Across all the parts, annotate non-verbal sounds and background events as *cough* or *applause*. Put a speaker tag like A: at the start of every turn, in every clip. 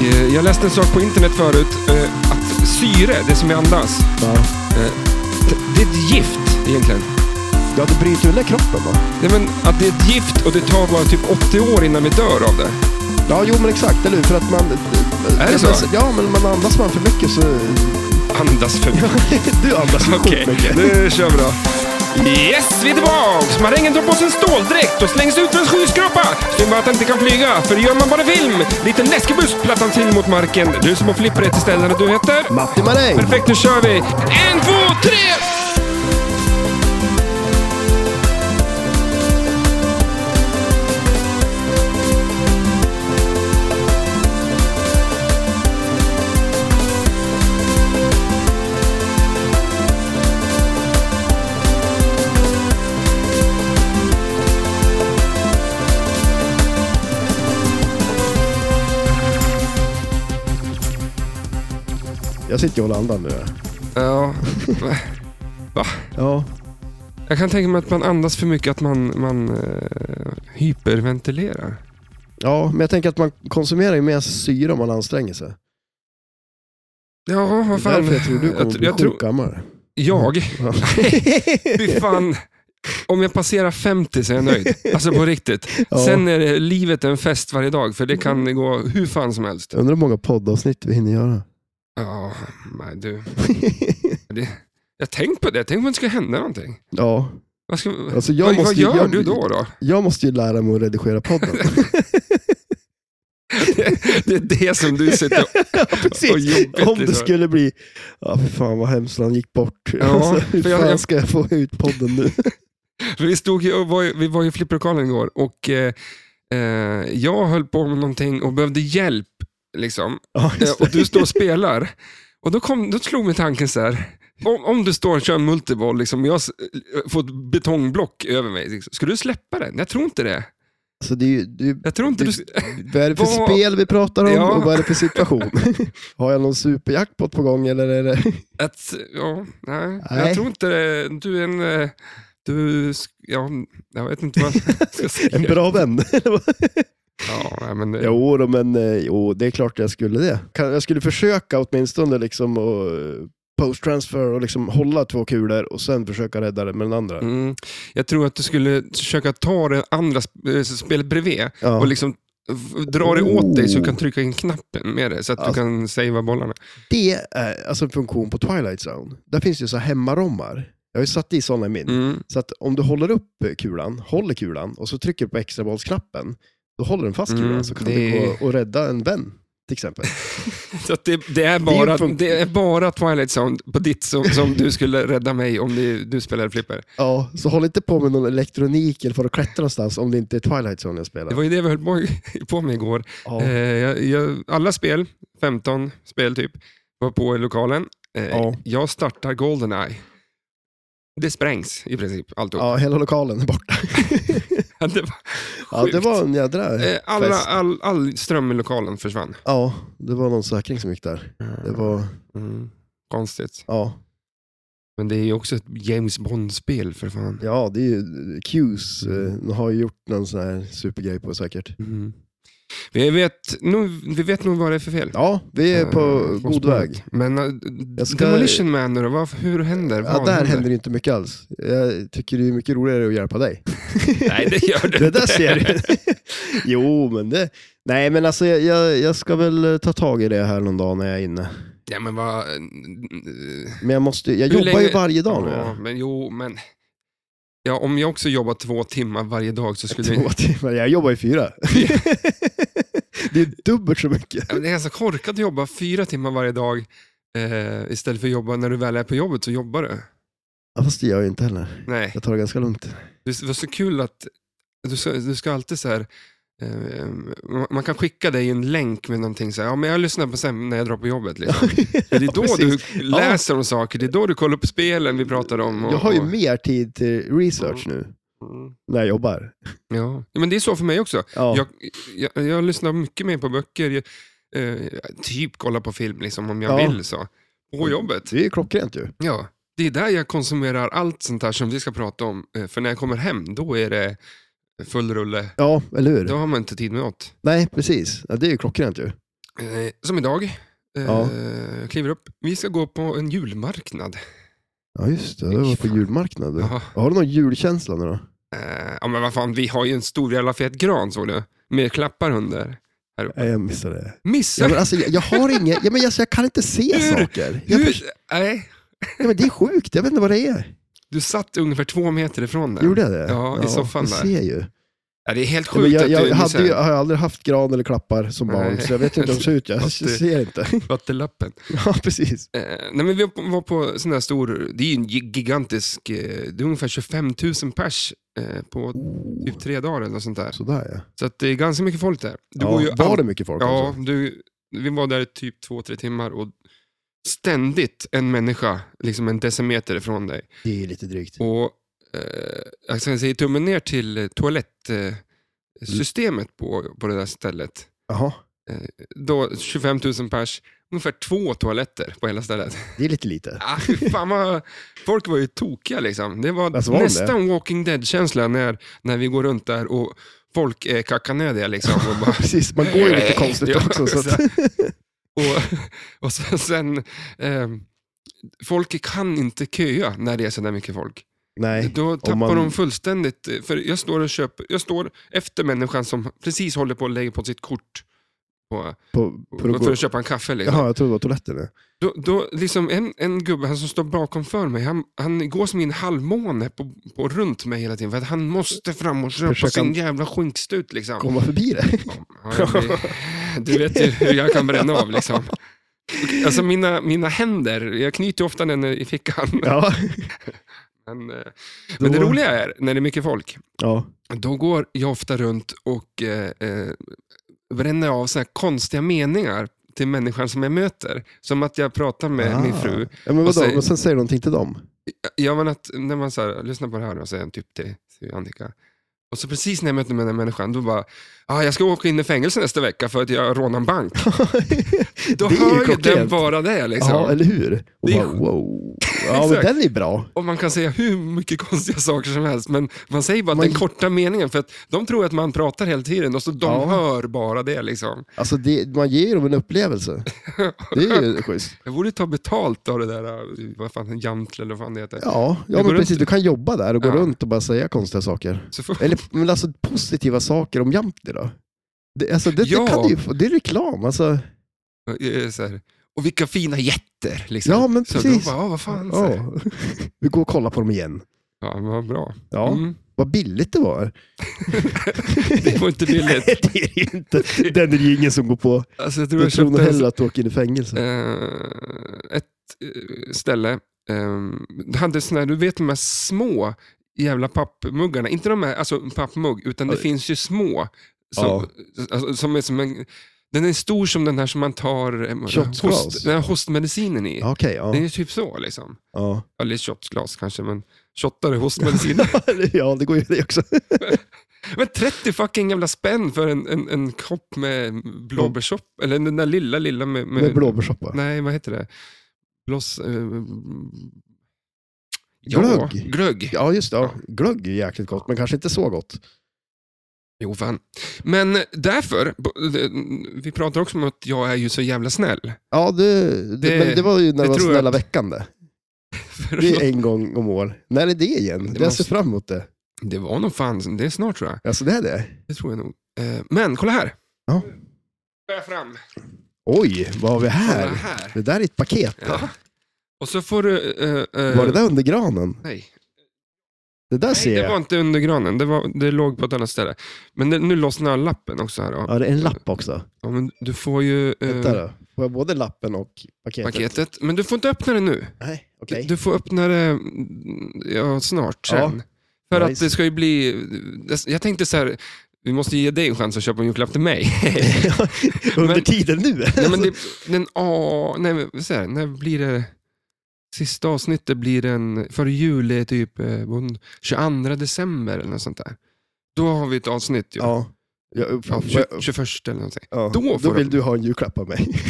A: Eh, Jag läste en sak på internet förut. eh, Att syre, det som vi andas,
B: Ja.
A: eh, t- det är ett gift egentligen.
B: ja, det bryter väl ner kroppen va?
A: Nej, men att det är ett gift och det tar bara typ 80 år innan vi dör av det.
B: Ja, jo men exakt, eller hur? För att man...
A: Är det så?
B: Men, ja, men man andas man för mycket så... *laughs*
A: Andas för
B: du andas för
A: Okej,
B: sjukt mycket.
A: nu kör vi då. Yes, vi är tillbaks! Marängen drar på sig en ståldräkt och slängs ut ur en skyskrapa. Synd bara att han inte kan flyga, för det gör man bara i film. Liten läskebusk plattar han till mot marken. Du som har flipper ett ställe där du heter?
B: Matti Maräng!
A: Perfekt, nu kör vi! En, två, tre!
B: Jag sitter ju och håller andan nu.
A: Ja,
B: Ja.
A: jag kan tänka mig att man andas för mycket, att man, man eh, hyperventilerar.
B: Ja, men jag tänker att man konsumerar ju mer syre om man anstränger sig.
A: Ja, vad
B: Det är
A: fan.
B: därför jag tror du kommer
A: jag,
B: bli
A: jag,
B: sjuk
A: tror- *laughs*
B: gammal.
A: jag
B: Ja.
A: Fy fan. Om jag passerar 50 så är jag nöjd. Alltså på riktigt.
B: Ja.
A: Sen är det livet en fest varje dag, för det kan gå hur fan som helst.
B: Jag Undrar hur många poddavsnitt vi
A: *laughs*
B: hinner göra.
A: Ja, nej du. Jag har tänkt på det. Tänk om det ska hända någonting.
B: ja,
A: Vad, ska,
B: alltså jag
A: vad,
B: måste
A: vad gör
B: ju- jag,
A: du då? *laughs* då?
B: Jag måste ju lära mig att
A: *laughs*
B: redigera podden.
A: Det är det som du sitter *laughs* och...
B: Ja,
A: Och
B: precis.
A: jobbigt,
B: Om det
A: liksom.
B: skulle bli... Ja, för fan vad hemskt han gick bort.
A: Ja,
B: *laughs* alltså, hur
A: för jag-
B: fan
A: jag-
B: ska jag få ut podden
A: *laughs*
B: nu?
A: För vi, stod ju och var, ju- vi var ju i flipperlokalen igår och eh, eh, jag höll på med någonting och behövde hjälp. Liksom.
B: Ja,
A: Eh,
B: just det.
A: och du står och spelar. Och då, kom, då slog mig tanken så här. Om, om du står och kör en multiboll liksom, och jag s- eh, får ett betongblock över mig, liksom, skulle du släppa den? Jag tror inte det.
B: Alltså, det är ju, det är, ju-
A: Jag tror inte du... s-
B: vad är det för
A: Vad-
B: spel vi pratar om
A: Ja.
B: och vad är det
A: *laughs*
B: för situation? Har jag någon superjackpot på gång eller är det...
A: Att, ja, nej,
B: Nej.
A: Jag tror inte det. Du är en... eh, Du... sk- Ja, jag vet inte vad
B: *laughs*
A: jag ska säga.
B: En bra vän? *laughs*
A: Ja, nej, men, eh,
B: Jo, då, men eh, jo, det är klart jag skulle det. Kan- Jag skulle försöka åtminstone liksom att post-transfer och liksom hålla två kulor och sen försöka rädda det med den andra.
A: Mm, jag tror att du skulle försöka ta det andra sp- eh, spelet bredvid
B: Ja.
A: och liksom f- dra det åt dig så du
B: Oh.
A: kan trycka in knappen med det så att
B: Alltså-
A: du kan savea bollarna.
B: Det är alltså en funktion på Twilight Zone. Där finns det ju så här hemmarommar. Jag har ju satt i sådana i min.
A: Mm.
B: Så att om du håller upp eh, kulan, håller kulan och så trycker du på extrabollsknappen, då håller den fast
A: Mm,
B: kulan så kan
A: det-
B: du gå och rädda en vän
A: *laughs*
B: till exempel.
A: Så att det, det, är
B: Det är
A: bara,
B: ju fun-
A: det är bara Twilight Zone på ditt som, som du skulle rädda mig om du, du spelade flipper.
B: Ja, så håll inte på med någon elektronik eller för att klättra någonstans om det inte är Twilight Zone jag spelar.
A: Det var ju det vi höll på, på med igår.
B: Ja.
A: Eh, jag, jag, alla spel, 15 spel typ, var på i lokalen. Eh,
B: Ja.
A: Jag startar Goldeneye. Det sprängs i princip, alltihop.
B: Ja, hela lokalen är borta.
A: *laughs* Det var
B: Ja, det
A: sjukt.
B: var en jädra...
A: Eh, Alla,
B: fest.
A: all, all ström i lokalen försvann.
B: Ja, det var någon säkring som gick där. Det var...
A: Mm. Konstigt.
B: Ja,
A: Men det är ju också ett James Bond-spel för fan.
B: ja det är ju... Qs eh, de har ju gjort någon sån här supergrej på säkert.
A: Mm. Vi, vet, nu, vi vet nog vad det är för fel.
B: Ja, vi är på
A: Eh,
B: god
A: spåret.
B: väg.
A: Men eh,
B: Jag ska-
A: Demolition Man nu då? Vad, hur händer?
B: Ja,
A: Vad
B: där händer det inte mycket alls. Jag tycker det är mycket roligare att hjälpa dig.
A: *laughs* Nej, det gör det
B: *laughs* Det där
A: inte.
B: ser du. jo, men det... Nej, men alltså jag, jag, jag ska väl eh, ta tag i det här någon dag när jag är inne.
A: *laughs* Ja, men vad... eh,
B: Men jag måste Jag
A: Hur
B: jobbar ju
A: länge-
B: varje dag nu.
A: Ja, men jo, men... Ja, om jag också jobbar två timmar varje dag så skulle
B: Två
A: jag...
B: *laughs* timmar. Jag jobbar
A: *laughs*
B: ju fyra. det är dubbelt så mycket.
A: Ja, men Det är ganska korkat att jobba fyra timmar varje dag eh, istället för att jobba när du väl är på jobbet så jobbar du.
B: Ja, fast det gör jag inte heller.
A: Nej,
B: Jag tar det ganska lugnt.
A: det var så kul att du ska, du ska alltid så här... eh, Man kan skicka dig en länk med någonting så här, ja men jag lyssnar på sen när jag drar på jobbet. Liksom. Det är
B: *laughs* Ja,
A: då
B: precis.
A: du läser om saker, det är då du kollar upp spelen vi pratar om. Och,
B: Jag har ju
A: och-
B: mer tid till research nu
A: Mm.
B: när jag jobbar.
A: Ja. Men det är så för mig också.
B: Ja,
A: Jag, jag, jag lyssnar mycket mer på böcker, jag, eh, typ kollar på film liksom, om jag
B: Ja. Mm.
A: vill. så. På jobbet.
B: Det är ju klockrent ju.
A: Ja. Det är där jag konsumerar allt sånt här som vi ska prata om. eh, För när jag kommer hem, då är det full rulle.
B: Ja, eller hur?
A: Då har man inte tid med något.
B: Nej, precis. Ja, det är ju klockrent ju.
A: Eh, Som idag. Eh,
B: Ja.
A: Kliver upp. Vi ska gå på en julmarknad.
B: Ja, just det. Det var på julmarknad. du.
A: Jaha.
B: Har du någon julkänsla nu då?
A: Eh, Ja, men vad fan, vi har ju en stor jävla fet gran såg du. Med klappar under.
B: Nej, jag missade det. Ja,
A: Missar
B: men alltså, jag, jag har inget, ja, men alltså, jag kan inte se
A: Hur?
B: saker. Jag,
A: du?
B: förs-
A: Nej,
B: ja, men det är sjukt, jag vet inte vad det är.
A: du satt ungefär två meter ifrån den.
B: Gjorde jag det?
A: Ja, i soffan
B: jag
A: där.
B: ser ju.
A: Ja, det är helt
B: Ja, men
A: sjukt
B: jag jag,
A: att du
B: hade ju,
A: missade
B: har ju aldrig haft gran eller klappar som barn,
A: Nej.
B: så jag vet inte hur de ser ut.
A: *laughs*
B: Jag
A: Fast det-
B: ser inte. *laughs*
A: vattenlappen.
B: Ja, precis.
A: Eh, nej, men vi var på sån här stor, det är ju en gi- gigantisk, eh, det är ungefär 25 000 pers eh, på typ tre dagar eller något sånt där.
B: Sådär ja.
A: Så att det är ganska mycket folk där. Du
B: ja
A: går ju
B: var
A: all-
B: det mycket folk? alltså?
A: Ja,
B: också?
A: du, vi var där i typ två, tre timmar och ständigt en människa, liksom en decimeter ifrån dig.
B: Det är lite drygt.
A: Och eh, jag ska säga tummen ner till toalettsystemet eh, systemet på, på det där stället.
B: Jaha,
A: Då 25 000 pers, ungefär två toaletter på hela stället.
B: det är
A: *laughs*
B: lite lite.
A: Ah, fy fan vad, folk var ju tokiga liksom. Det var
B: Alltså, var de
A: nästan Walking Dead-känsla när, när vi går runt där och folk är kackanödiga liksom. Och,
B: *laughs*
A: bara,
B: Precis, man går ju lite
A: Nej.
B: konstigt
A: Ja,
B: också. Så
A: så
B: att,
A: här. och, och sen, sen ehm, folk kan inte köa när det är så där mycket folk.
B: *laughs* nej,
A: Då tappar
B: man-
A: de fullständigt. eh, För jag står och köper, jag står efter människan som precis håller på att lägga på sitt kort på,
B: på, på att
A: för
B: gå...
A: att köpa en kaffe. Liksom.
B: Jaha, jag trodde det var toaletten. ja.
A: Då, då, liksom en, en gubbe han som står bakom för mig, han, han går som i en halvmåne på, på runt mig hela tiden. För att han måste fram och köpa
B: Försöker
A: sin
B: han-
A: jävla skinkstut. Liksom.
B: Komma förbi
A: *laughs*
B: det.
A: Ja, jag blir, du vet ju hur jag kan bränna av. Liksom. Alltså mina, mina händer, jag knyter ju ofta den i fickan.
B: Ja.
A: Men, eh, men det
B: Då-
A: roliga är, när det är mycket folk,
B: Ja.
A: då går jag ofta runt och eh, eh, bränner av såna här konstiga meningar till människan som jag möter. Som att jag pratar med min
B: Ah.
A: fru.
B: Ja, men
A: Och
B: vadå?
A: säger-
B: Men sen säger du någonting till dem?
A: Ja, men att när man så här, lyssnar på det här och säger typ till, till Annika. Och så precis när jag möter den här människan, då bara, ah, jag ska åka in i fängelse nästa vecka för att jag rånade en
B: *laughs*
A: bank. *laughs* Då
B: Det är ju
A: hör ju den
B: klockrent.
A: bara det. Liksom.
B: Ja, eller hur? Och
A: Det är
B: bara,
A: sj-
B: wow. Ja, men
A: Exakt.
B: den är bra.
A: Och man kan säga hur mycket konstiga saker som helst, men man säger bara
B: Man-
A: den korta meningen, för att de tror att man pratar hela tiden och så de
B: Ja.
A: hör bara det. Liksom.
B: Alltså det, man ger ju dem en upplevelse. Det
A: *laughs*
B: är ju schysst.
A: Jag borde ta betalt av det där, eh, vad fan, Jamtle eller vad fan det heter.
B: Ja,
A: går
B: ja men
A: runt-
B: precis. Du kan jobba där och gå
A: Ja.
B: runt och bara säga konstiga saker.
A: Så får...
B: Eller men alltså, positiva saker om Jamtli då. Det, alltså, det,
A: Ja.
B: det, kan du ju, få- det är reklam. Alltså,
A: *laughs* eh, så här, och vilka fina jätter. Liksom.
B: ja, men
A: så
B: precis.
A: då bara, ah, vad fan. Så här.
B: ja. *laughs* Vi går och kollar på dem igen.
A: Ja, men vad bra.
B: Ja,
A: Mm.
B: Vad billigt det var.
A: Det var inte billigt.
B: Nej, *laughs* det är det inte. Den är det ju ingen som går på.
A: Alltså, jag tror jag,
B: Jag tror nog
A: köpte en
B: hellre att du åker in i fängelse.
A: eh, ett eh, ställe. Eh, det hade såna här, du vet de här små jävla pappmuggarna. Inte de här, alltså en pappmugg, utan det
B: Ja.
A: finns ju små. Som, alltså, som är som en, den är stor som den här som man tar eh,
B: Shotsglas.
A: host, den här hostmedicinen i.
B: Ja, Okej,
A: Det
B: ja.
A: är typ så liksom.
B: Ja.
A: Eller shotsglas kanske, men shottar är hostmediciner.
B: *laughs* ja, det går ju det också.
A: men 30 fucking jävla spänn för en, en, en kopp med blåbärssopp. Eller den där lilla, lilla med, med,
B: Med blåbärssoppa.
A: Nej, vad heter det? Bloss... Eh,
B: Glögg.
A: glögg.
B: Ja, just det. Ja. Glögg är jäkligt gott, men kanske inte så gott.
A: Jo, fan. Men därför, vi pratar också om att jag är ju så jävla snäll. *laughs*
B: Ja, det, det,
A: Det-
B: men det var ju när
A: det
B: det var
A: tror jag
B: snälla
A: att-
B: veckan det. Det är en gång om år. När är det igen?
A: Det
B: jag
A: måste-
B: ser fram emot det.
A: Det var nog fan, det är snart tror jag.
B: Alltså det är det?
A: Det tror jag nog. Eh, Men kolla här.
B: Ja.
A: Går jag fram.
B: Oj, vad har vi
A: Kolla
B: här?
A: här.
B: Det där är ett paket.
A: Ja. Och så får du... eh, eh,
B: Var det där under granen?
A: Nej.
B: Det där
A: Nej,
B: ser
A: det var
B: jag.
A: inte under granen. Det, var, det låg på ett annat ställe. Men det, nu lossnar lappen också här. Ja.
B: Ja, det är en lapp också.
A: Ja, men du får ju... eh,
B: Vänta då. Får jag både lappen och paketet?
A: paketet. Men du får inte öppna det nu.
B: Nej, okej.
A: Du får öppna det mm, ja, snart
B: Ja.
A: sen. För att
B: Nice.
A: det ska ju bli... Jag tänkte så här, vi måste ge dig en chans att köpa en julklapp till
B: *laughs*
A: mig.
B: under
A: men-
B: tiden nu?
A: nej, men det, den, a, nej, men så här, när blir det... Sista avsnittet blir den... Före jul är typ eh, den 22 december eller något sånt där. Då har vi ett avsnitt ju. Ja.
B: *laughs* Ja. Jag,
A: Ja,
B: ja,
A: 21 eller någonting.
B: ja.
A: då
B: Då,
A: får
B: vill
A: de-
B: du ha en julklapp av mig.
A: *laughs*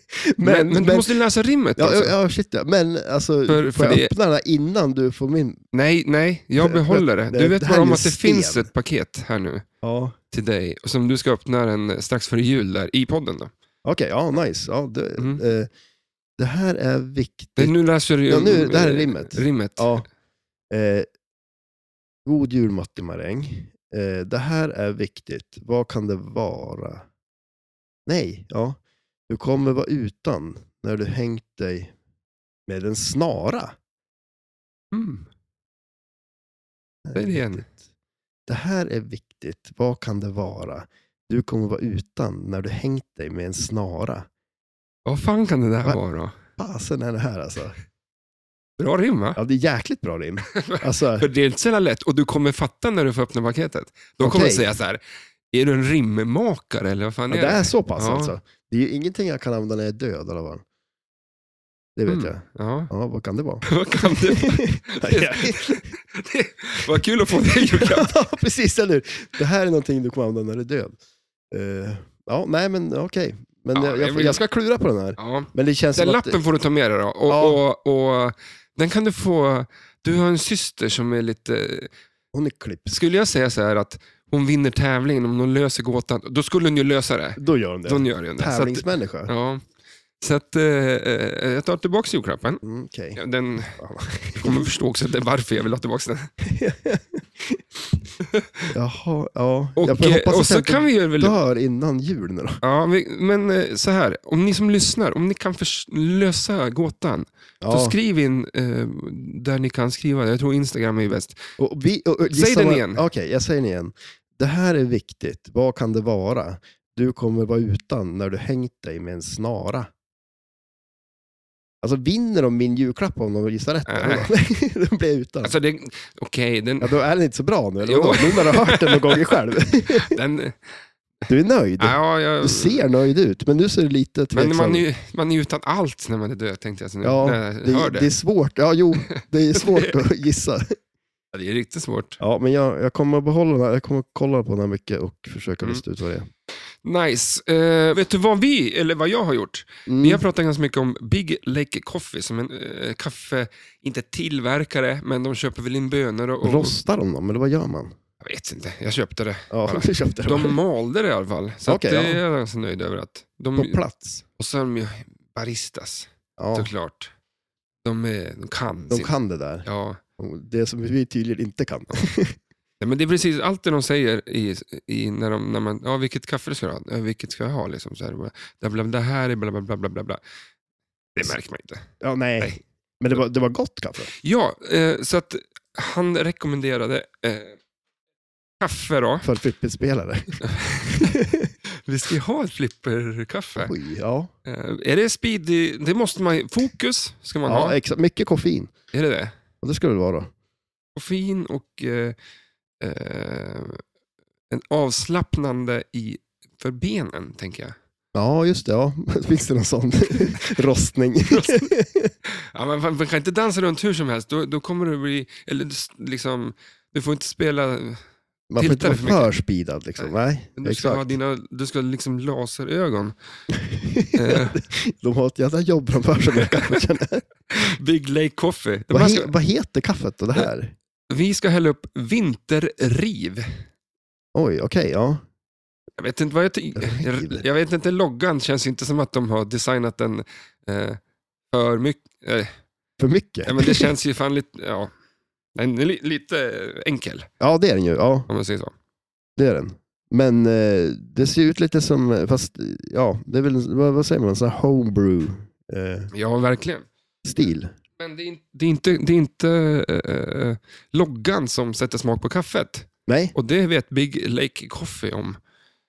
B: *laughs*
A: Men, men, du måste läsa rimmet
B: Ja,
A: alltså.
B: ja, ja, shit ja. Men alltså,
A: För- för
B: får jag
A: det-
B: öppna den här innan du får min?
A: Nej, nej, jag behåller det.
B: Det-
A: Du
B: det
A: vet
B: här
A: bara
B: är
A: om
B: ju
A: att det
B: sten.
A: finns ett paket här nu
B: Ja.
A: till dig som du ska öppna den strax före jul där i podden. Då.
B: Okej, ja nice. Ja, det,
A: Mm.
B: eh, det här är viktigt.
A: Det, nu läser du ju-
B: Ja, nu- det här är rimmet.
A: rimmet.
B: Ja. Eh, god jul Matti Maräng. Eh, det här är viktigt. Vad kan det vara? Nej, ja. Du kommer vara utan när du hängt dig med en snara.
A: Mm. Säg det igen.
B: Det här är viktigt. Vad kan det vara? Du kommer vara utan när du hängt dig med en snara.
A: Vad fan kan det där
B: Va?
A: vara då?
B: Fasen är det här alltså.
A: Bra rim va?
B: Ja, det är jäkligt
A: *laughs*
B: bra rim. Alltså,
A: För det är inte så jävla lätt och du kommer fatta när du får öppna paketet. De kommer
B: Okej.
A: säga så här, är du en rimmakare eller vad fan
B: Ja,
A: är
B: det
A: det?
B: är så pass
A: Ja.
B: alltså. Det är ju ingenting jag kan använda när jag är död i alla fall. Det vet
A: Mm.
B: jag.
A: Ja. *laughs*
B: Ja, vad kan det vara?
A: vad kan det vara? det, det, Vad kul att få det i julklapp.
B: *laughs* ja, precis, eller hur? Det här är någonting du kommer använda när du är död. Eh, ja, nej men okej. Men
A: Ja,
B: jag,
A: jag
B: jag,
A: vill-
B: jag ska klura på den här.
A: Ja.
B: Men det känns
A: Den
B: som att...
A: lappen får du ta med dig då. Och,
B: Alltså, Ja.
A: och, och, den kan du få, du har en syster som är lite,
B: Hon är klippt.
A: skulle jag säga så här att hon vinner tävlingen om hon löser gåtan, då skulle hon ju lösa det.
B: Då gör hon det.
A: Hon gör ju det. Så att,
B: Tävlingsmänniska.
A: ja. så att eh, eh, jag tar tillbaka julklappen.
B: Mm, okej.
A: Ja, Den du kommer förstå också att det är varför jag vill ha tillbaka den.
B: Jaha, ja.
A: Och,
B: jag får
A: eh,
B: hoppas
A: och
B: att
A: så
B: jag
A: kan
B: inte
A: vi ju väl...
B: dör innan jul nu då.
A: Ja, vi, men eh, så här, om ni som lyssnar, om ni kan förs- lösa gåtan, så
B: Ja.
A: skriv in eh, där ni kan skriva. Jag tror Instagram är ju bäst.
B: Och vi, och, och,
A: Säg
B: gissa
A: den
B: vad-
A: igen.
B: Okej, jag säger den igen. Det här är viktigt. Vad kan det vara? Du kommer vara utan när du hängt dig med en snara. Alltså vinner de min julklapp om de gissar rätt?
A: Nej.
B: *laughs* Äh. de blir utan.
A: Alltså, det- Okej, den,
B: Ja, då är den inte så bra nu, eller
A: Jo.
B: vadå? Nu när du har hört den någon
A: *laughs*
B: gång själv.
A: den...
B: Du är nöjd.
A: Ja, jag,
B: Du ser nöjd ut, men nu ser du lite
A: men
B: tveksam
A: man är, ju, man är ju utan allt när man är död, tänkte jag. Så nu,
B: Ja,
A: när jag
B: det,
A: hör det.
B: det är svårt. Ja,
A: *laughs*
B: jo, det är svårt att gissa.
A: Ja, det är riktigt svårt.
B: Ja, men jag, jag kommer att behålla den här. Jag kommer att kolla på den här mycket och försöka
A: Mm.
B: lista ut vad det är.
A: Nice. Eh, vet du vad vi, eller vad jag har gjort?
B: Mm.
A: Vi har pratat ganska mycket om Big Lake Coffee som en eh, kaffe, inte tillverkare, men de köper väl in bönor och... och
B: Rostar de dem, eller vad gör man?
A: Jag vet inte, jag köpte det.
B: Ja, *laughs*
A: Bara.
B: du köpte dem.
A: De malde det i alla fall. Så
B: Okej,
A: att det
B: ja.
A: är jag ganska nöjd över. att
B: På
A: de,
B: plats.
A: Och sen ju baristas,
B: Ja,
A: såklart. De, är, de kan.
B: de
A: sin-
B: kan det där.
A: Ja.
B: Det som vi tydligen inte kan.
A: Nej, men det är precis allt det de säger i, i när, de, när man, ja vilket kaffe ska du ha? Ja, vilket ska jag ha? Liksom, så här, bla, bla, det här är bla bla bla bla bla bla. Det märker man inte.
B: Ja, nej.
A: Nej.
B: Men det var, det var gott kaffe.
A: Ja, eh, så att han rekommenderade eh, kaffe
B: *laughs*
A: då.
B: För flipperspelare.
A: Vi ska ju ha ett flipperkaffe.
B: Oj, ja.
A: Eh, är det speed? Det måste man Fokus ska man
B: ja
A: ha.
B: exakt. Mycket koffein.
A: Är det det?
B: Och det ska det vara.
A: Koffein och eh, eh, en avslappnande i, för benen, tänker jag.
B: Ja, just det. Ja. *laughs* Finns det någon sån
A: *laughs*
B: rostning?
A: Ja, men man, man kan inte dansa runt hur som helst. Då, då kommer du bli... Eller s- liksom, du får inte spela...
B: Man får inte
A: Tiltar
B: vara
A: för mycket.
B: för speedad. Liksom. Nej,
A: men Du ska, ha
B: exakt.
A: dina, du ska ha liksom
B: *laughs*
A: laserögon. Eh,
B: De har ett jävla jobb framför
A: *laughs*
B: sig med kaffe. känner jag.
A: Big Lake Coffee.
B: Vad,
A: Man
B: he,
A: ska,
B: vad heter kaffet då, det här?
A: vi ska hälla upp Vinterriv.
B: Oj, okej. ja.
A: Jag vet inte vad jag... ty-
B: Riv.
A: Jag vet inte, loggan känns ju inte som att de har designat den eh, för mycket. Eh,
B: För mycket?
A: ja, men
B: *laughs*
A: det känns ju fan lite... Ja. Den är li, lite enkel,
B: Ja, det är den ju. Ja.
A: om man säger så.
B: Det är den. Men eh, det ser ut lite som, eh, fast ja, det är väl, vad, vad säger man, sån här eh, homebrew-stil.
A: Ja, verkligen. Men det är, in- det är inte, det är inte eh, eh, loggan som sätter smak på kaffet.
B: Nej,
A: Och det vet Big Lake Coffee om.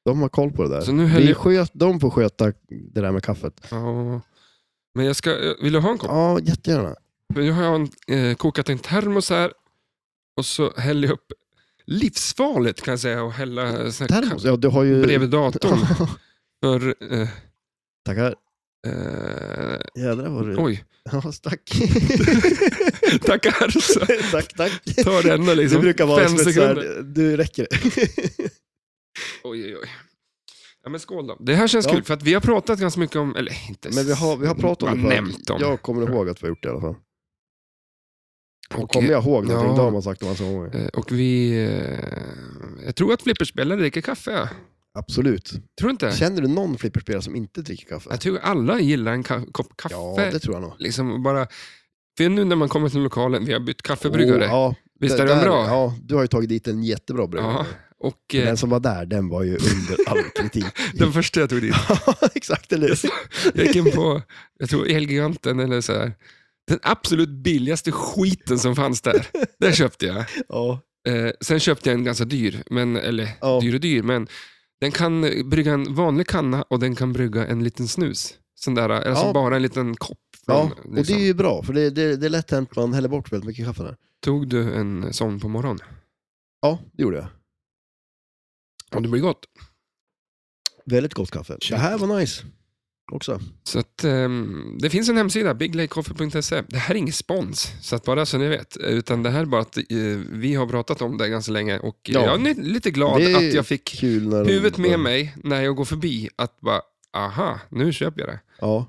B: de har koll på det där.
A: Så nu häller
B: Vi
A: jag...
B: sköt, de får sköta det där med kaffet.
A: Ja. Men jag ska... eh, Vill du ha en kopp?
B: Ja, jättegärna.
A: Men Nu har jag en, eh, kokat en termos här. Och så häller jag upp... Livsfarligt kan jag säga att hälla eh, sån här
B: Termos, ja du har ju...
A: ka- bredvid datorn. För... Eh,
B: Tackar.
A: eh,
B: Jädrar vad du...
A: oj, *laughs*
B: Ja, tack.
A: tackar. Så
B: tack, tack.
A: Tar denna
B: Det
A: liksom.
B: brukar vara
A: fem
B: som ett så
A: sekunder.
B: här, du räcker det.
A: Oj, oj, oj. Ja, men skål då. Det här känns
B: Ja.
A: kul, för att vi har pratat ganska mycket om, eller inte
B: Men vi har, vi har pratat om det
A: förut.
B: förut.
A: nämnt om.
B: Jag kommer ihåg att vi har gjort det i alla fall. Och
A: Och,
B: kommer jag ihåg någonting,
A: Ja.
B: då har man sagt det massa gånger.
A: eh, och vi... eh, Jag tror att flipperspelare dricker kaffe. ja.
B: Absolut.
A: Tror du inte?
B: Känner du någon flipperspelare som inte dricker kaffe?
A: Jag tror alla gillar en ka- kopp kaffe.
B: Ja, det tror jag nog.
A: liksom bara, för nu när man kommer till lokalen, vi har bytt kaffebryggare.
B: Åh, ja,
A: Visst
B: det
A: är den
B: där-
A: bra?
B: Ja, du har ju tagit dit en jättebra bryggare.
A: Ja, och
B: Men
A: eh,
B: Den som var där, den var ju under
A: *laughs*
B: all kritik.
A: den första jag
B: *laughs*
A: tog dit,
B: Ja, exakt, eller hur?
A: jag gick in på, jag tror Elgiganten eller så här. Den absolut billigaste skiten som fanns
B: *laughs*
A: där, där köpte jag.
B: Ja,
A: Eh, sen köpte jag en ganska dyr, men, eller
B: Ja.
A: dyr och dyr, men den kan eh, brygga en vanlig kanna och den kan brygga en liten snus. Sån där, alltså
B: Ja.
A: bara en liten kopp. Från,
B: ja. och det
A: liksom.
B: är ju bra, för det, det, det är lätt hänt man häller bort väldigt mycket kaffe där.
A: Tog du en sån på morgonen?
B: Ja, det gjorde jag.
A: Och det blir gott.
B: Väldigt gott kaffe.
A: Shit.
B: Det här var nice också.
A: Så att, ehm, det finns en hemsida, biglakecoffee.se. Det här är ingen spons, så att bara så ni vet. Utan det här är bara att eh, vi har pratat om det ganska länge och eh,
B: Ja.
A: jag är ny- lite glad
B: Det är
A: att jag fick
B: Kul när de-
A: huvudet med mig när jag går förbi. Att bara, aha, nu köper jag det.
B: Ja.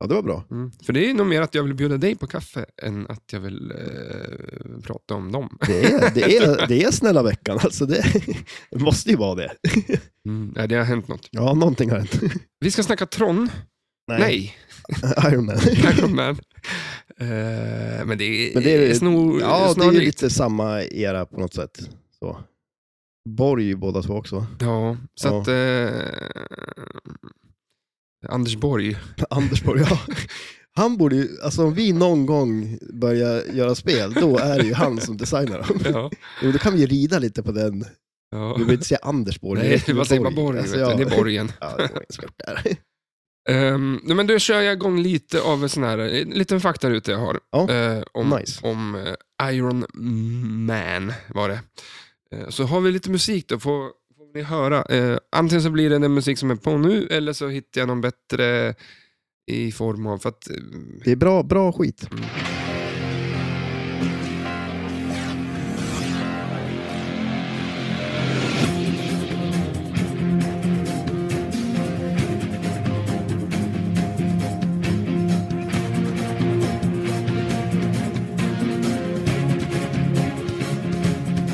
B: ja, det var bra.
A: Mm. För det är nog mer att jag vill bjuda dig på kaffe än att jag vill eh, prata om dem.
B: Det är, det är, det är snälla veckan, alltså det, *laughs* det måste ju vara det.
A: Mm. Nej, det har hänt något.
B: Ja, någonting har hänt.
A: Vi ska snacka Tron. Nej,
B: *laughs* Iron Man.
A: *laughs* Iron Man. Eh, men det är,
B: Men det är-
A: snor,
B: Ja, det är ju
A: snarlikt.
B: lite samma era på något sätt. Så. Borg är ju båda två också. *laughs*
A: Ja, så
B: Ja.
A: att... Eh, Anders Borg.
B: Anders Borg, ja. Han borde ju, alltså om vi någon gång börjar göra spel, då är det ju han som designar dem.
A: Ja.
B: Jo, då kan vi ju rida lite på den.
A: *laughs* ja.
B: Du vill inte säga Anders Borg.
A: Nej, vad säger man Borg?
B: Alltså,
A: vet du?
B: ja.
A: Det är Borgen.
B: Ja, det är Borg som har gjort det här.
A: Ehm, nej, men då kör jag igång lite av en sån här, en liten faktaruta jag har.
B: Ja,
A: Eh, om
B: nice.
A: om eh, Iron Man var det. Eh, så har vi lite musik då, får, får ni höra. Eh, antingen så blir det den musik som är på nu, eller så hittar jag någon bättre i form av... För att, eh,
B: Det är bra, bra skit.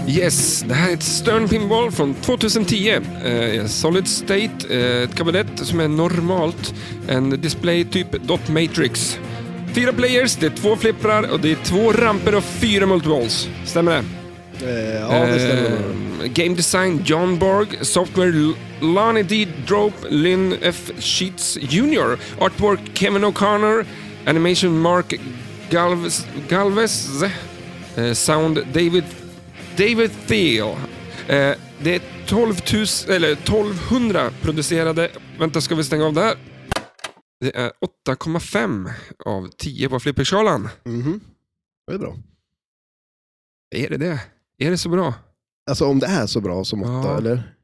A: Yes, det här är ett Stern Pinball från 2010. Eh, Solid State, eh, ett kabinett som är normalt. En display typ dot matrix. Fyra players, det är två flipprar och det är två ramper och fyra multiballs. Stämmer det?
B: Eh, ja, det stämmer. nog.
A: Eh, Game Design John Borg, Software L- Lonnie D. Drope, Lynn F. Sheets Jr. Artwork Kevin O'Connor, Animation Mark Galvez, Galvez eh, Sound David, David Thiel. Eh, det är 12 000, eller 1200 producerade, vänta ska vi stänga av där? Det är 8,5 av 10 på flipperskalan.
B: Mhm. Det är bra.
A: Är det det? Är det så bra?
B: Alltså om det är så bra som åtta,
A: Ja.
B: eller?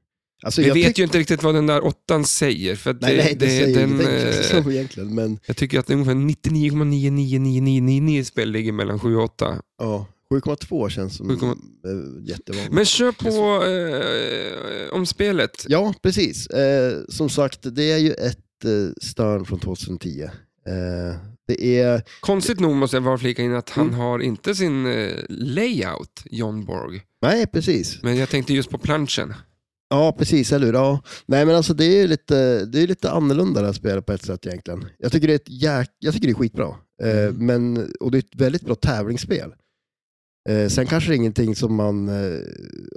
B: Alltså,
A: Vi
B: jag
A: vet
B: tyck-
A: ju inte riktigt vad den där åttan säger. För att
B: Nej,
A: det,
B: nej, det,
A: det-
B: säger
A: den,
B: ingenting *laughs* känns det
A: eh,
B: som egentligen, men
A: Jag tycker att det är ungefär 99,99999 spel ligger mellan 7 och 8.
B: ja, 7,2 känns som
A: 7,2.
B: eh, jättevanligt.
A: Men kör på eh, om spelet.
B: Ja, precis. Eh, som sagt, det är ju ett eh, Stern från 2010. Eh, det är...
A: Konstigt nog måste jag bara flika in att han
B: Mm.
A: har inte sin eh, layout, John Borg.
B: Nej, precis.
A: Men jag tänkte just på planschen.
B: Ja, precis. Eller hur? Ja. Nej, men alltså det är ju lite, det är lite annorlunda det här spelet på ett sätt egentligen. Jag tycker det är, ett jäk... jag tycker det är skitbra. Eh, men, och det är ett väldigt bra tävlingsspel. Eh, sen kanske det är ingenting som man, eh,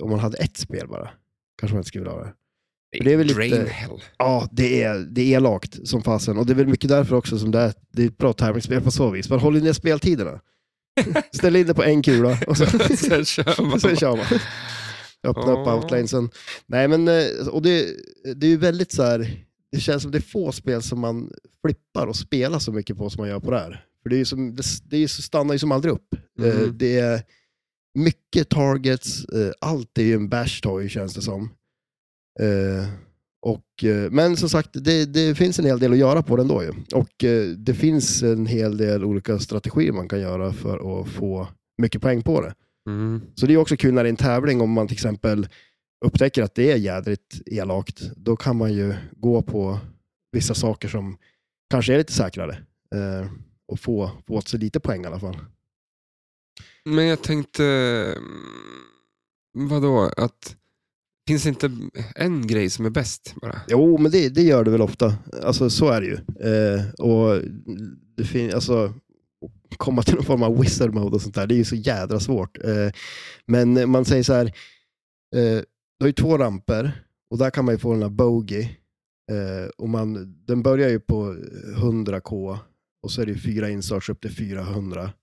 B: om man hade ett spel bara, kanske man inte skulle vilja ha det. För det är väl lite-
A: Drain hell.
B: Ja, det är, det är elakt som fasen. Och det är väl mycket därför också som det är, det är ett bra tävlingsspel på så vis. Man håller ner speltiderna. Ställer in det på en kula och så,
A: Sen *laughs* kör man.
B: så kör man. Öppna
A: Ja.
B: upp outlinesen. Nej, men eh, och det, det är ju väldigt så här, det känns som det är få spel som man flippar och spelar så mycket på som man gör på det här. För det, är ju som, det, det är ju, så- stannar ju som aldrig upp. Eh,
A: Mhm.
B: Det är mycket targets, eh, allt är ju en bash toy känns det som. Eh, och, eh, men som sagt, det, det finns en hel del att göra på den då ju. Och eh, det finns en hel del olika strategier man kan göra för att få mycket poäng på det.
A: Mm.
B: Så det är också kul när det är en tävling om man till exempel upptäcker att det är jädrigt elakt, då kan man ju gå på vissa saker som kanske är lite säkrare eh, och få, få åt sig lite poäng i alla fall.
A: Men jag tänkte, mm, vadå, att finns det inte en grej som är bäst bara?
B: Jo, men det, det gör det väl ofta. Alltså, så är det ju. Eh, och det fin- alltså, komma till någon form av wizard mode och sånt där, det är ju så jädra svårt. Eh, men man säger så här, eh, du har ju två ramper och där kan man ju få den här bogey. Eh, och man, den börjar ju på 100k och så är det ju fyra inserts upp till 400.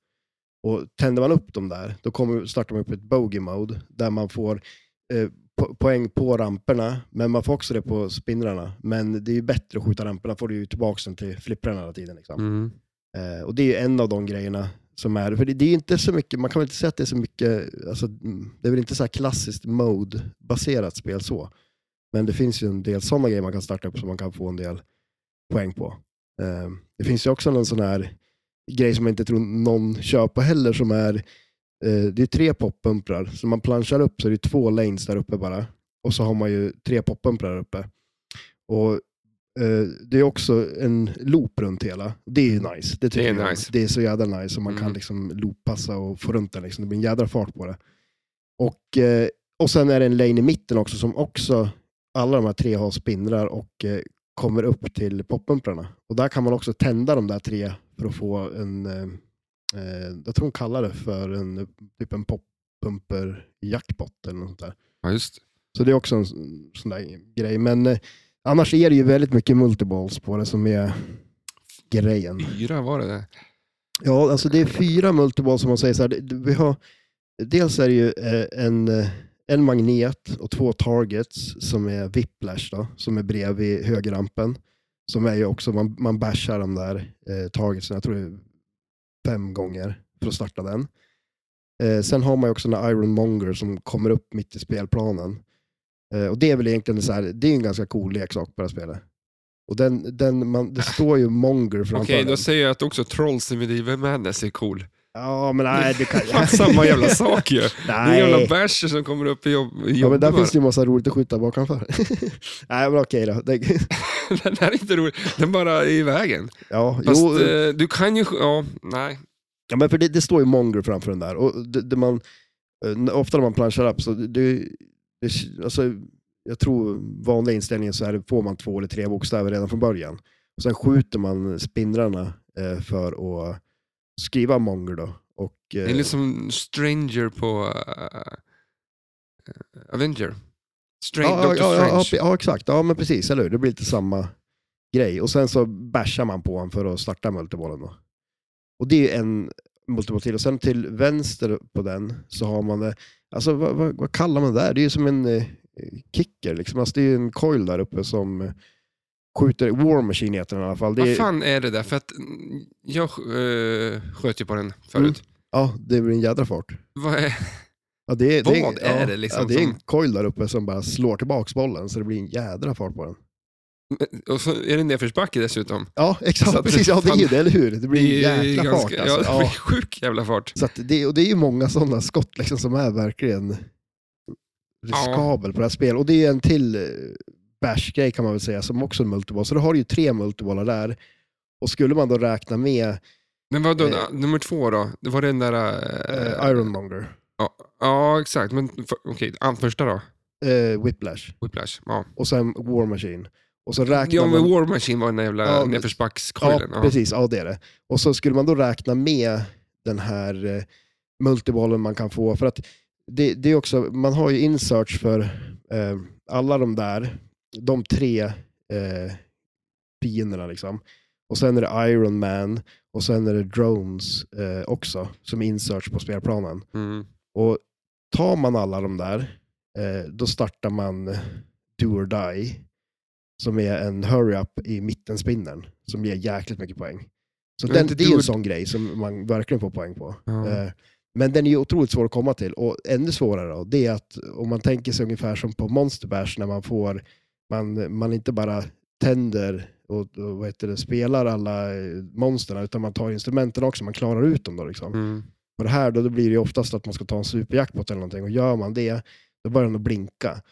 B: Och tänder man upp dem där, då kommer, startar man upp ett bogey mode där man får eh, po- poäng på ramperna, men man får också det på spinnrarna. Men det är ju bättre att skjuta ramperna, får du ju tillbaka den till flipprarna hela tiden. Liksom.
A: Mm.
B: Eh, och det är ju en av de grejerna som är, för det, det är ju inte så mycket, man kan väl inte säga att det är så mycket, alltså, mm, det är väl inte så här klassiskt mode-baserat spel så. Men det finns ju en del sådana grejer man kan starta upp som man kan få en del poäng på. Eh, det finns ju också någon sån här grej som jag inte tror någon kör på heller som är, eh, det är tre poppumprar, så man planchar upp så det är två lanes där uppe bara. Och så har man ju tre poppumprar där uppe. Och eh, det är också en loop runt hela. Det är ju nice. Det, tycker
A: är
B: jag.
A: nice.
B: det är så jävla nice. Och man kan
A: Mm.
B: liksom looppassa och få runt den. Liksom. Det blir en jädra fart på det. Och, eh, och sen är det en lane i mitten också som också, alla de här tre har spinnrar och eh, kommer upp till poppumprarna. Och där kan man också tända de där tre för att få en, eh, eh, jag tror hon kallar det för en, typ en poppumper jackpot eller något sånt där.
A: Ja, just det.
B: Så det är också en s- sån där grej. Men eh, annars är det ju väldigt mycket multiballs på det som är grejen.
A: Fyra var det det.
B: Ja, alltså det är fyra multiballs som man säger så här. det- det- Vi har, dels är det ju eh, en, eh, en magnet och två targets som är whiplash då, som är bredvid högerrampen. Som är ju också, man, man bashar de där eh, targetsen, jag tror det är fem gånger för att starta den. Eh, sen har man ju också den här Ironmonger som kommer upp mitt i spelplanen. Eh, och det är väl egentligen så här, det är ju en ganska cool leksak på det här spelet. Och den, den, man, det står ju Monger framför
A: Okej,
B: den.
A: då säger jag att också Trolls i Medieval Madness är cool.
B: Ja, men nej, det
A: *laughs*
B: kan
A: Det är fan samma
B: *laughs*
A: jävla sak ju. Det är jävla
B: Nej.
A: basher som kommer upp i jobb.
B: Ja, men där
A: jobbar.
B: finns det ju massa roligt att skjuta bakanför. *laughs* nej, men okej då. Det,
A: *laughs* Den här är inte rolig, den bara är i vägen.
B: ja,
A: Fast
B: jo,
A: eh, du kan ju... Ja, nej.
B: ja, men för det, det står ju Monger framför den där. Och det, det man, eh, ofta när man planchar upp så det, det, alltså, jag tror vanliga inställningen så är det, får man två eller tre bokstäver redan från början. Och sen skjuter man spindrarna eh, för att skriva Monger då. Och, eh,
A: Det är liksom Stranger på eh, Avenger. Strange,
B: ja,
A: Dr.
B: ja,
A: Strange.
B: ja, ja, ja, exakt. Ja, men precis. Eller hur? Det blir lite samma grej. Och sen så bashar man på honom för att starta multibollen. Då. Och det är ju en multiboll till. Och sen till vänster på den så har man, eh, alltså vad, vad, vad kallar man det där? Det är ju som en eh, kicker. Liksom. Alltså, det är ju en coil där uppe som eh, skjuter, War Machine heter den i alla fall. Det
A: Vad
B: är,
A: fan är det där? För att mm, jag eh, sköt ju på den
B: Mm.
A: förut.
B: ja, det blir en jädra fart.
A: Vad är, *laughs*
B: Ja, det är, det
A: Vad
B: är,
A: är
B: ja,
A: det liksom
B: Ja, det är en
A: som-
B: coil där uppe som bara slår tillbaks bollen så det blir en jädra fart på den.
A: och så är det nedförsbacke dessutom.
B: Ja, exakt.
A: Så att
B: precis.
A: det-
B: Ja, det är ju det, eller hur? Det blir
A: Det
B: en
A: är
B: jäkla
A: ganska-
B: fart. Alltså.
A: Ja, *laughs* det blir
B: Ja.
A: sjuk jävla fart.
B: Så att det, och det är ju många sådana skott liksom som är verkligen riskabel på det här spelet. Och det är ju en till eh, bash-grej kan man väl säga, som också är en multiboll. Så då har du ju tre multibollar där. Och skulle man då räkna med
A: Men vadå,
B: Eh.
A: nummer två då? Det var den där... eh,
B: eh, Ironmonger,
A: Ja, ja exakt. Men för, okej, an- första då?
B: eh, Whiplash
A: Whiplash. Ja,
B: och sen War Machine. Och så räknar
A: ja men
B: man...
A: War Machine var den där jävla
B: Ja, men- Ja,
A: nedförsbackskoilen. Ja,
B: precis. Ja, det är det. Och så skulle man då räkna med den här eh, multibollen man kan få. För att det, det är också, man har ju inserts för eh, alla de där, de tre eh, fienderna liksom. Och sen är det Iron Man och sen är det Drones eh, också som är inserts på spelplanen.
A: mm.
B: Och tar man alla de där, eh, då startar man Do or Die, som är en hurry-up i mittenspinnern, som ger jäkligt mycket poäng. Så
A: Men
B: den,
A: inte
B: det är
A: do
B: ju
A: or-
B: en sån grej som man verkligen får poäng på.
A: Ja.
B: Eh, men den är ju otroligt svår att komma till. Och ännu svårare då, det är att om man tänker sig ungefär som på Monster Bash när man får, man, man inte bara tänder och, och vad heter det, spelar alla eh, monsterna, utan man tar instrumenten också, man klarar ut dem då liksom.
A: Mm.
B: På det här då, då blir det ju oftast att man ska ta en superjackpot eller någonting och gör man det, då börjar den att blinka.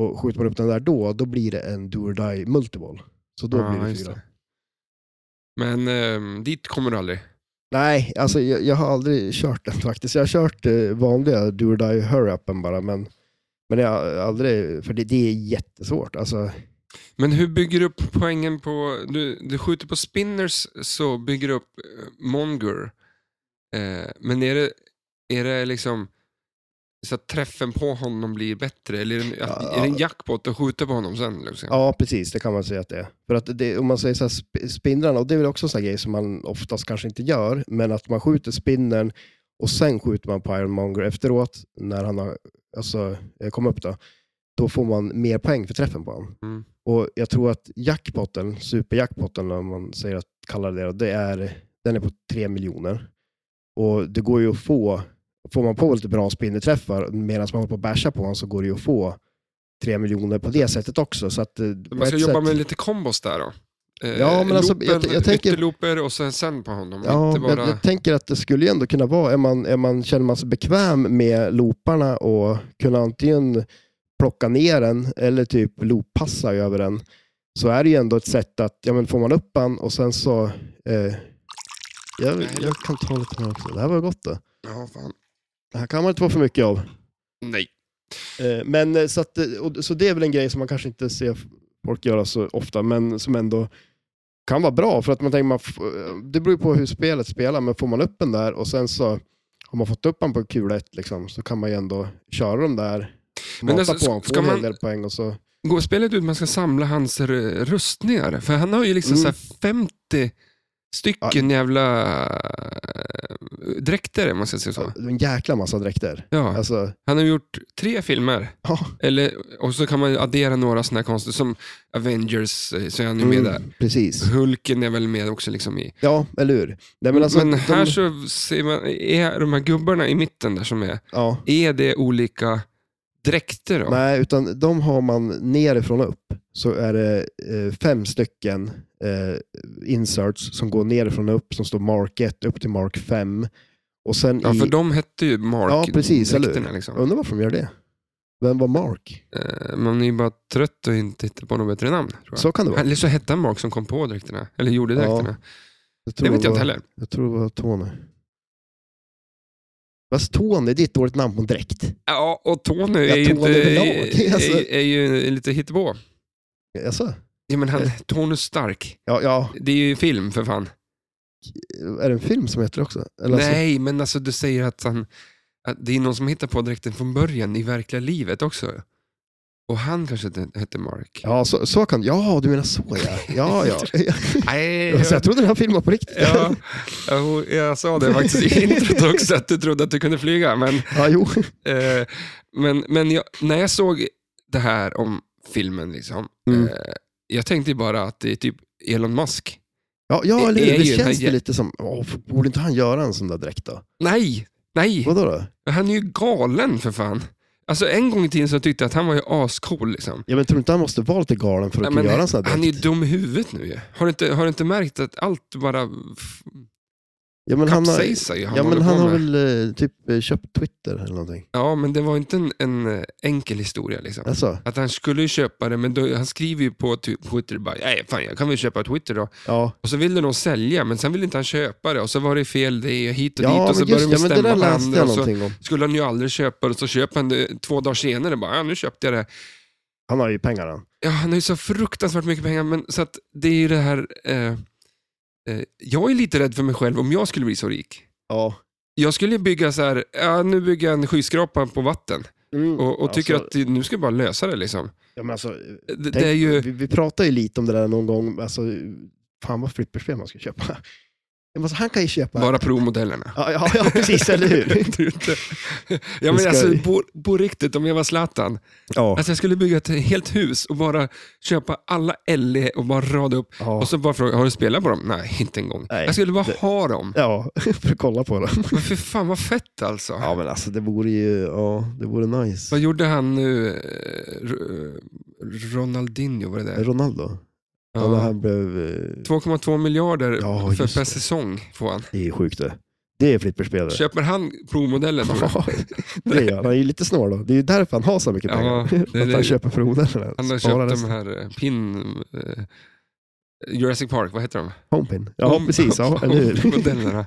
B: Och skjuter man upp den där då, då blir det en do or die multiball. Så då
A: Ja,
B: blir det
A: just
B: fyra.
A: det. Men ehm, dit kommer du aldrig.
B: Nej, alltså jag, jag har aldrig kört den faktiskt. Jag har kört eh, vanliga do or die hurry-upen bara, men, men jag har aldrig, för det, det är jättesvårt. Alltså,
A: Men hur bygger du upp poängen på... Du, du skjuter på spinners så bygger du upp eh, monger. Eh, men är det, är det liksom så att träffen på honom blir bättre? Eller är det, en- att,
B: Ja,
A: är det en jackpot att skjuta på honom sen? Liksom?
B: ja, precis, det kan man säga att det är. För att det, om man säger så här, sp- spindlarna, och det är väl också en sån här grej som man oftast kanske inte gör, men att man skjuter spinnern och sen skjuter man på Ironmonger efteråt, när han har alltså, eh, kommit upp då, då får man mer poäng för träffen på honom.
A: Mm.
B: Och jag tror att jackpotten, superjackpotten om man säger att kallar det, det är, den är på 3 miljoner. Och det går ju att få, får man på lite bra spinnerträffar medan man håller på att basha på honom så går det ju att få 3 miljoner på det sättet också. Så att, eh, på
A: Man ska
B: ett
A: jobba
B: sätt-
A: med lite kombos där då. Eh,
B: Ja, men alltså, jag-
A: loopen,
B: jag tänker-
A: ytterlooper och sen, sen på honom.
B: Ja,
A: inte bara...
B: jag, jag tänker att det skulle ju ändå kunna vara, är man, är man, känner man sig bekväm med looparna och kunna antingen plocka ner den eller typ looppassa över den, så är det ju ändå ett sätt att, ja men får man upp den och sen så... Eh, jag, jag kan ta lite mer också, det här var gott det.
A: ja, fan.
B: Det här kan man inte få för mycket av.
A: Nej.
B: Eh, men eh, så, att, eh, och, så det är väl en grej som man kanske inte ser folk göra så ofta, men som ändå kan vara bra. För att man tänker, man f- eh, det beror ju på hur spelet spelar, men får man upp den där och sen så har man fått upp den på kula ett, liksom, så kan man ju ändå köra dem där,
A: Men
B: mata
A: alltså,
B: på honom,
A: ska
B: få en hel
A: man-
B: del poäng och så.
A: Går spelet ut man ska samla hans eh, rustningar? För han har ju liksom
B: Mm.
A: så här 50 stycken jävla eh, dräkter, om man ska säga så.
B: Ja, det är En jäkla massa dräkter.
A: Ja.
B: Alltså,
A: Han har gjort tre filmer.
B: ja.
A: Eller, och så kan man addera några sådana här konster, som Avengers, eh, så är han ju med där.
B: Mm, precis.
A: Hulken är väl med också liksom i...
B: Ja, eller hur? Nej, men alltså,
A: Mm, men
B: de-
A: här så ser man, är de här gubbarna i mitten där som är,
B: ja.
A: är det olika dräkter då?
B: Nej, utan de har man nerifrån och upp. Så är det eh, fem stycken eh, inserts som går nerifrån och upp som står mark 1 upp till mark 5. Och sen
A: Ja,
B: i...
A: för de hette ju Mark.
B: Ja, precis, eller hur?
A: dräkterna, liksom.
B: Undrar varför de gör det. Vem var Mark?
A: Eh, Man är ju bara trött och inte hittar på något bättre namn. Tror jag.
B: Så kan det vara.
A: Eller så hette han Mark som kom på dräkterna, eller gjorde
B: Ja,
A: dräkterna.
B: tror
A: det vet jag
B: var,
A: inte heller.
B: Jag tror det var Tony. Fast Tony, det är ett dåligt namn på en dräkt.
A: Ja, och Tony är,
B: Ja,
A: ju
B: Tony
A: inte,
B: *laughs* överlag, alltså.
A: är, är ju lite hittepå.
B: Jaså?
A: Ja, men han,
B: Eh.
A: Tony Stark,
B: Ja, ja,
A: det är ju film för fan.
B: är det en film som heter det också? Eller alltså-
A: Nej, men alltså du säger att, han, att det är någon som hittar på dräkten från början i verkliga livet också. Och han kanske inte hette Mark.
B: Ja, så, så kan Ja, du menar så ja.
A: *laughs*
B: Ja, *laughs* ja.
A: Nej,
B: Alltså, *laughs* jag trodde den här filmen var på riktigt.
A: ja, jag, jag sa det faktiskt i introt också, att du trodde att du kunde flyga. Men
B: *laughs* ja jo.
A: Eh, men men jag, när jag såg det här om filmen, liksom,
B: Mm.
A: eh, jag tänkte ju bara att det är typ Elon Musk.
B: Ja, ja
A: Det
B: eller
A: är
B: hur?
A: ju
B: Det
A: den här
B: känns ju
A: jä-
B: lite som, åh, borde inte han göra en sån där dräkt då?
A: Nej, nej,
B: Vadå då?
A: han är ju galen för fan. Alltså en gång i tiden så tyckte jag att han var ju ascool. Liksom.
B: Ja, men tror du inte han måste vara lite galen för att
A: Ja,
B: kunna
A: men
B: göra en sån där dräkt?
A: han är ju dum i huvudet nu ju. Har du inte, har du inte märkt att allt bara f-
B: ja, men han har,
A: kapsejsar ju? Han
B: ja, men
A: håller på
B: han har
A: med.
B: väl eh, typ eh, köpt Twitter eller någonting?
A: Ja, men det var inte en, en eh, enkel historia. Liksom.
B: Alltså,
A: Att han skulle ju köpa det, men då, han skriver ju på ty- Twitter bara, nej fan jag kan väl köpa Twitter då.
B: ja.
A: Och så ville de sälja, men sen ville inte han köpa det. Och så var det fel det och hit och dit.
B: Ja,
A: Och så
B: men
A: började de
B: just det, men det
A: stämma
B: där läste
A: varandra.
B: jag
A: Och så
B: någonting om.
A: skulle han ju aldrig köpa det. Och så köper han det två dagar senare. Bara, ja, nu köpte jag det.
B: Han har ju pengar han.
A: Ja, han har ju så fruktansvärt mycket pengar. Men, så att det är ju det här... Eh, eh, jag är lite rädd för mig själv om jag skulle bli så rik.
B: Ja.
A: Jag skulle bygga så här, ja, nu bygger jag en skyskrapa på vatten
B: Mm,
A: och, och tycker
B: alltså,
A: att det- nu ska jag bara lösa det. Liksom.
B: Ja, men alltså,
A: Det,
B: tänk,
A: det är ju...
B: vi, vi pratade ju lite om det där någon gång, alltså, fan vad flipperspel man ska köpa. Ja, men alltså, han kan ju köpa...
A: Bara provmodellerna.
B: *laughs* Ja, ja, ja, precis,
A: *laughs*
B: eller hur?
A: Det är ju inte- ja,
B: Nu
A: men
B: ska
A: alltså,
B: vi-
A: på, på riktigt, om jag var Zlatan,
B: Ja.
A: Alltså jag skulle bygga ett helt hus och bara köpa alla LE och bara rada upp.
B: Ja,
A: Och så bara fråga, har du spelat på dem? Nej, inte en gång.
B: Nej,
A: jag skulle bara
B: det-
A: ha dem.
B: ja för att kolla på det.
A: Men för fan vad fett alltså.
B: Ja, men alltså det vore ju, ja, det vore nice.
A: Vad gjorde han nu? Eh, R- eh, Ronaldinho, var det där?
B: Ronaldo? Ja. men
A: Ja.
B: han blev... eh,
A: 2,2 miljarder
B: Ja,
A: för
B: just
A: per
B: det.
A: säsong får han.
B: Det är sjukt det. Det är flipperspelare.
A: Köper han provmodellen?
B: *laughs*
A: tror du?
B: Ja, det gör han. Han är ju lite snål då. Det är ju därför han har så mycket
A: Ja,
B: pengar.
A: det är
B: För att han
A: det.
B: köper provmodellerna.
A: Han har
B: Sparar
A: köpt de
B: resten.
A: här eh, pin... eh, Jurassic Park, vad heter de?
B: Homepin. Ja,
A: De- *laughs*
B: precis. Ja, eller hur?
A: Modellerna.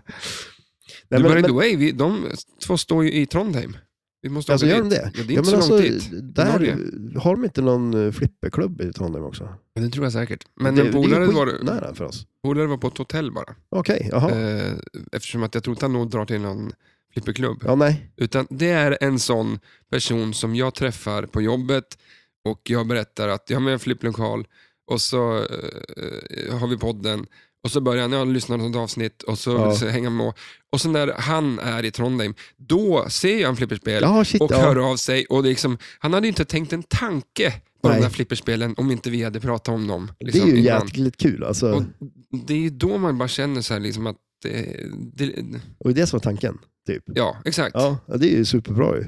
B: Nej,
A: du,
B: men,
A: by the
B: men,
A: way, vi, de två står ju i Trondheim. Vi måste
B: alltså,
A: åka
B: gör de
A: dit.
B: det?
A: Ja, det är
B: Ja,
A: inte
B: men
A: så
B: alltså,
A: långt dit.
B: där, har de inte någon eh, flipperklubb i Trondheim också?
A: Men det tror jag säkert. Men
B: det,
A: en polare
B: det är
A: var,
B: skitnära för oss.
A: polare var på ett hotell bara.
B: Okej, jaha.
A: Eh, eftersom att jag tror inte han nog drar till någon flipperklubb.
B: Ja, nej.
A: Utan det är en sån person som jag träffar på jobbet och jag berättar att jag har med en flipplokal och så eh, har vi podden och så börjar han, jag lyssnar på något avsnitt och så,
B: Ja.
A: så hänger han med. Och så när han är i Trondheim, då ser jag en flipperspel
B: Ja, shit.
A: och
B: ja.
A: hör av sig. Och det är liksom, han hade ju inte tänkt en tanke på
B: Nej.
A: de där flipperspelen om inte vi hade pratat om dem.
B: det är
A: liksom,
B: ju
A: innan.
B: jäkligt kul. Alltså,
A: Och det är ju då man bara känner så här liksom att, eh, det,
B: och det är det som är tanken. Typ.
A: ja exakt.
B: Ja, ja, det är ju superbra ju.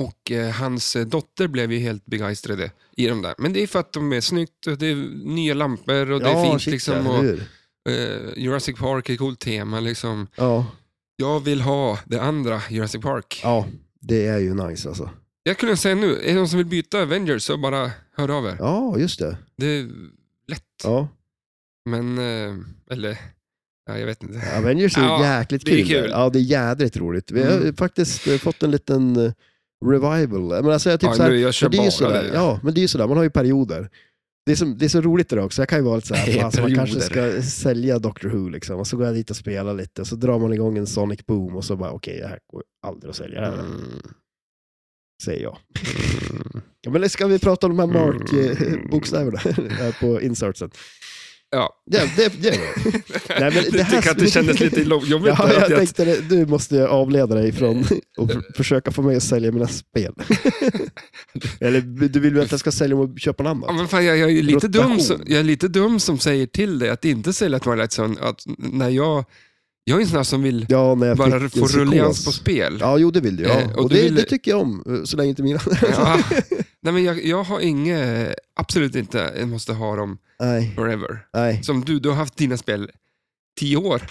A: Och eh, hans eh, dotter blev ju helt begeistrade i de där. Men det är för att de är snyggt och det är nya lampor och det är fint.
B: shit,
A: liksom,
B: ja,
A: och,
B: hur?
A: eh, Jurassic Park är ett coolt tema. Liksom.
B: Ja,
A: Jag vill ha det andra Jurassic Park.
B: ja, det är ju nice alltså.
A: Jag kunde säga nu, är det någon som vill byta Avengers så bara hör av er.
B: Ja, just det.
A: Det är lätt.
B: Ja.
A: Men, eh, eller, ja, jag vet
B: Typ
A: inte.
B: Avengers är
A: Ja,
B: jäkligt
A: det är
B: kul.
A: kul.
B: Ja, det är jädrigt roligt. Vi har
A: Mm.
B: faktiskt eh, fått en liten eh, revival. Men alltså, jag typ
A: Ja,
B: så här,
A: nu, jag kör
B: men det är ju
A: bara
B: sådär,
A: det.
B: ja, men det är ju sådär, man har ju perioder. Det är, som, det är så roligt det där också, jag kan ju vara
A: *laughs*
B: lite såhär, fan, så man kanske ska sälja Doctor Who liksom, och så går jag dit och spelar lite, och så drar man igång en Sonic Boom och så bara, okej, det här går aldrig att sälja, det här,
A: Mm.
B: säger jag. Ja, men ska vi prata om de här
A: Mm.
B: Mark-bokstäverna *laughs* här på insertsen?
A: Ja.
B: Ja, det, det,
A: *laughs*
B: Nej, men det
A: Du
B: här-
A: tycker att det kändes
B: *laughs*
A: lite lo- jobbigt? där,
B: ja,
A: att
B: jag
A: jag-
B: tänkte det, du måste jag avleda
A: *laughs*
B: dig från och f- försöka få mig att sälja mina spel. *laughs* Eller du vill väl att jag ska sälja och köpa något annat?
A: Ja, men fan, jag, jag, är ju lite
B: Rotation.
A: dum som, jag är lite dum som säger till dig att inte sälja Twilight Zone. Att när jag, jag är en sån här som vill
B: Ja, när jag
A: bara
B: fick
A: få
B: en psykos.
A: rullians på spel.
B: Ja, jo det vill du. Ja.
A: Eh,
B: och
A: och du
B: det,
A: ville-
B: det tycker jag om, eh, så länge inte mina...
A: Ja. Nej, men jag, jag har inget, absolut inte, jag måste ha dem
B: *laughs* nej,
A: forever.
B: nej.
A: Som du, du har haft dina spel tio år.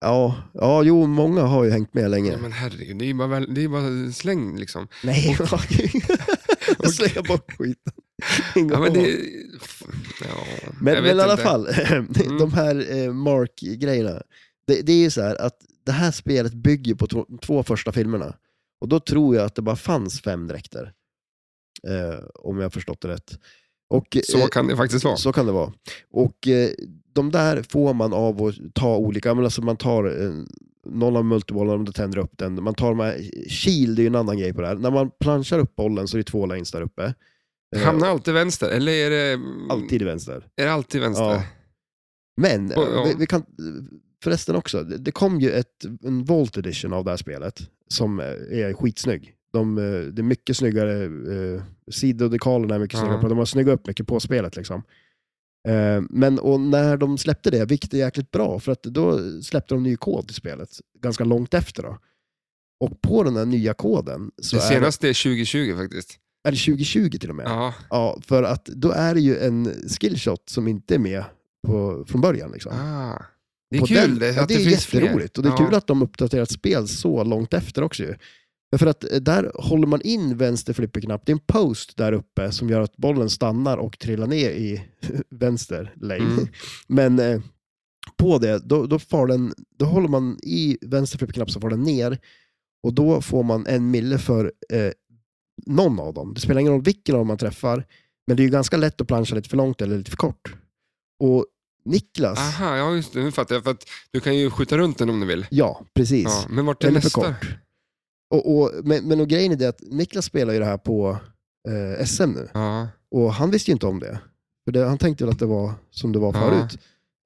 B: Ja, ja, jo många har ju hängt med länge.
A: Ja, men herregud, det är ju bara, väl- det är bara släng liksom.
B: Nej, *laughs* jag slänger bort skiten.
A: Ja, men det, ja,
B: Men,
A: jag
B: men
A: vet
B: i alla
A: inte. Mm.
B: fall, *laughs* de här eh, Mark-grejerna. Det, det är ju så här att det här spelet bygger på två, två första filmerna. Och då tror jag att det bara fanns fem dräkter. Eh, om jag har förstått det rätt. Och,
A: Så
B: eh,
A: kan det faktiskt vara.
B: så kan det vara. Och eh, de där får man av att ta olika, men alltså man tar eh, någon av multibollarna, om du tänder upp den. Man tar de här, shield är ju en annan grej på det här. När man planchar upp bollen så är det två lanes där uppe. Eh,
A: Hamnar alltid vänster, eller är det
B: Alltid vänster.
A: Är det alltid vänster?
B: Ja. Men eh,
A: Och, ja.
B: vi, vi kan, förresten också, det det kom ju ett, en Volt Edition av det här spelet som eh, är skitsnygg. De, eh, det är mycket snyggare, eh, sidodekalerna är mycket
A: Ja.
B: snyggare på. De har snyggat upp mycket på spelet liksom. Eh, men och när de släppte det, vilket är jäkligt bra, för att då släppte de ny kod till spelet ganska långt efter. då. Och på den här nya koden, så
A: det
B: är det,
A: senaste är 2020 faktiskt.
B: är det 2020 till och med.
A: Ja.
B: Ja, för att då är det ju en skillshot som inte är med på, från början. Liksom.
A: Ah. Det är
B: på
A: kul
B: den-
A: det,
B: ja,
A: att
B: det,
A: det,
B: är
A: finns fler.
B: jätteroligt. Och det är
A: ja.
B: kul att de uppdaterat spel så långt efter också ju. För att eh, där håller man in vänster flipperknapp. Det är en post där uppe som gör att bollen stannar och trillar ner i *laughs* vänster lane.
A: Mm.
B: *laughs* Men eh, på det, då, då, far den, då håller man i vänster flipperknapp så far den ner. Och då får man en mille för eh, någon av dem. Det spelar ingen roll vilken av dem man träffar. Men det är ju ganska lätt att plancha lite för långt eller lite för kort. Och Niklas,
A: Aha, ja, just det, nu fattar jag. För att du kan ju skjuta runt den om du vill.
B: ja precis.
A: Ja, men vart är
B: Eller för
A: nästa?
B: kort. Och, och, men, men och grejen är det att Niklas spelar ju det här på eh, SM nu.
A: Ja.
B: Och han visste ju inte om det. För det, han tänkte väl att det var som det var
A: Ja.
B: förut.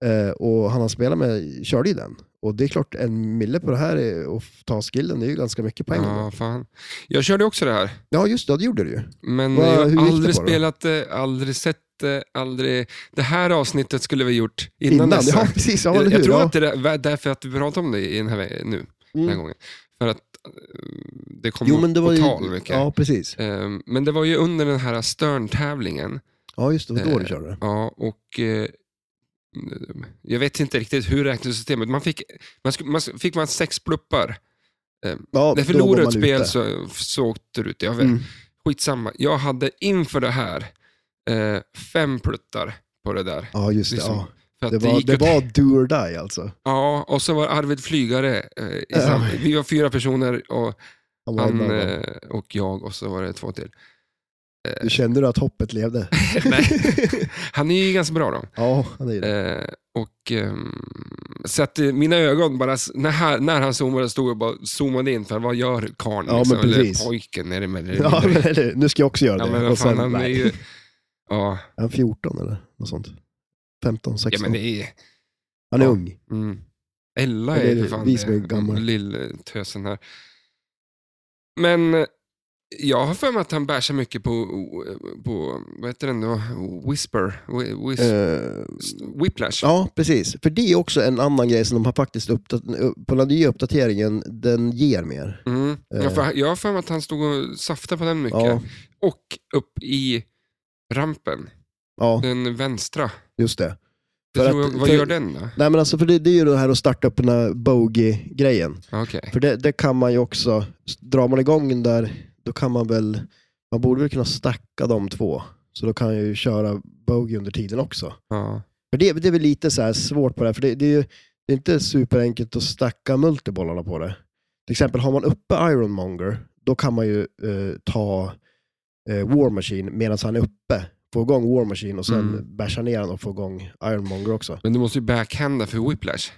B: Eh, och han han spelar med körde ju den. Och det är klart, en mille på det här är, och ta skillen, det är ju ganska mycket poäng. Ja,
A: ja, fan. Jag körde också det här,
B: ja just det, det gjorde du ju.
A: men
B: Vad- hur
A: jag
B: gick
A: har
B: det
A: aldrig
B: på då?
A: spelat det, aldrig sett det, aldrig... Det här avsnittet skulle vi gjort innan, dess.
B: ja *laughs* precis. Ja, eller
A: jag,
B: hur?
A: jag tror
B: ja.
A: att det är där- därför att vi pratar om det i den här, vä- nu, den här
B: Mm.
A: gången. För att eh, det kom
B: Jo,
A: upp
B: men det
A: på
B: var ju,
A: tal mycket.
B: Ja, precis.
A: Eh, Men det var ju under den här Stern-tävlingen
B: Ja, just det, det var då du
A: Eh,
B: körde det.
A: Ja, och eh, Jag vet inte riktigt hur räknesystemet... Man fick man, skulle- man, fick man sex pluppar.
B: Ja,
A: När jag
B: då var
A: förlorade ett
B: man
A: spel
B: ute.
A: så, så åkte det ut. Jag vet,
B: Mm.
A: Skitsamma. Jag hade inför det här eh, fem pluttar på det där.
B: Ja, just det.
A: Liksom,
B: ja.
A: För att
B: Det
A: det
B: var,
A: gick
B: det
A: åt-
B: var do or die alltså.
A: Ja, och så var Arvid Flygare. Eh, i
B: Ja.
A: sam... Vi var fyra personer och
B: Han var
A: han
B: en av dem.
A: eh, och jag och så var det två
B: *laughs*
A: till. Eh,
B: Du kände du att
A: *laughs*
B: hoppet levde?
A: nej. Han är ju ganska bra då.
B: Ja, han är det.
A: Eh, och, ehm, så att eh, mina ögon bara, s- när, han- när han zoomade stod jag bara zoomade in, för vad gör karln? liksom?
B: Ja, men precis.
A: Eller pojken är det med.
B: Ja, men eller, nu ska jag också göra
A: ja,
B: det.
A: men vad
B: Och sen,
A: fan, han är
B: nej.
A: ju...
B: *laughs*
A: Ja,
B: Är han 14 eller något sånt? 15,
A: ja
B: 16?
A: men det är...
B: han är
A: ja.
B: ung.
A: Mm. Ella
B: Eller
A: är
B: är det
A: för fan
B: vi som är
A: det,
B: gamla?
A: lilltösen här. Men eh, jag har för mig att han bär sig mycket på, eh, på vad heter den då? Whisper? Whi- Whis,
B: Eh,
A: whiplash?
B: ja, precis. För det är också en annan grej som de har faktiskt uppdaterat, på den nya uppdateringen, den ger mer.
A: Mm.
B: eh.
A: Jag, för, jag har för mig att han stod och saftade på den mycket.
B: Ja,
A: Och upp i rampen,
B: ja,
A: den vänstra.
B: just det.
A: Det
B: För
A: tror
B: att-
A: jag, vad
B: för-
A: gör den då?
B: Nej men alltså, för det, det är ju det här att starta upp den här bogey-grejen.
A: Okej.
B: För det, det kan man ju också, drar man igång den där, då kan man väl, man borde väl kunna stacka de två. Så då kan jag ju köra bogey under tiden också.
A: Ja.
B: För det, det är väl lite så här svårt på det här, för det, det är ju det är inte superenkelt att stacka multibollarna på det. Till exempel har man uppe Ironmonger, då kan man ju eh, ta eh, War Machine medan han är uppe. Få igång War Machine och sen
A: Mm.
B: basha ner den och få igång Ironmonger också.
A: Men du måste ju backhanda för whiplash.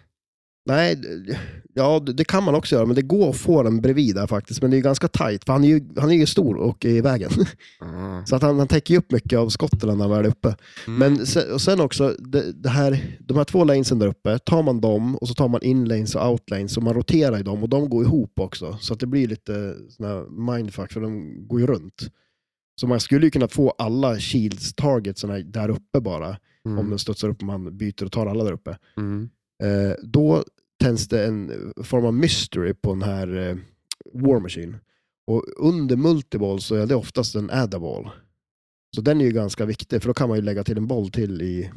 B: Nej, d- ja det det kan man också göra, men det går att få den bredvid där faktiskt. Men det är ju ganska tajt, för han är ju, han är ju stor och är i vägen. *laughs*
A: Ja.
B: Så att han, han täcker ju upp mycket av skotten när han väl är uppe.
A: Mm.
B: Men sen, och sen också, det, det här, de här två lanesen där uppe, tar man dem och så tar man inlanes och outlanes och man roterar i dem och de går ihop också. Så att det blir lite sån här mindfuck för de går ju runt. Så man skulle ju kunna få alla shields targets såna här där uppe bara,
A: mm.
B: om den studsar upp och man byter och tar alla där uppe.
A: mm.
B: Eh, då tänds det en form av mystery på den här eh, War Machine. Och under multiball så är det oftast en add-a-ball. Så den är ju ganska viktig, för då kan man ju lägga till en boll till i,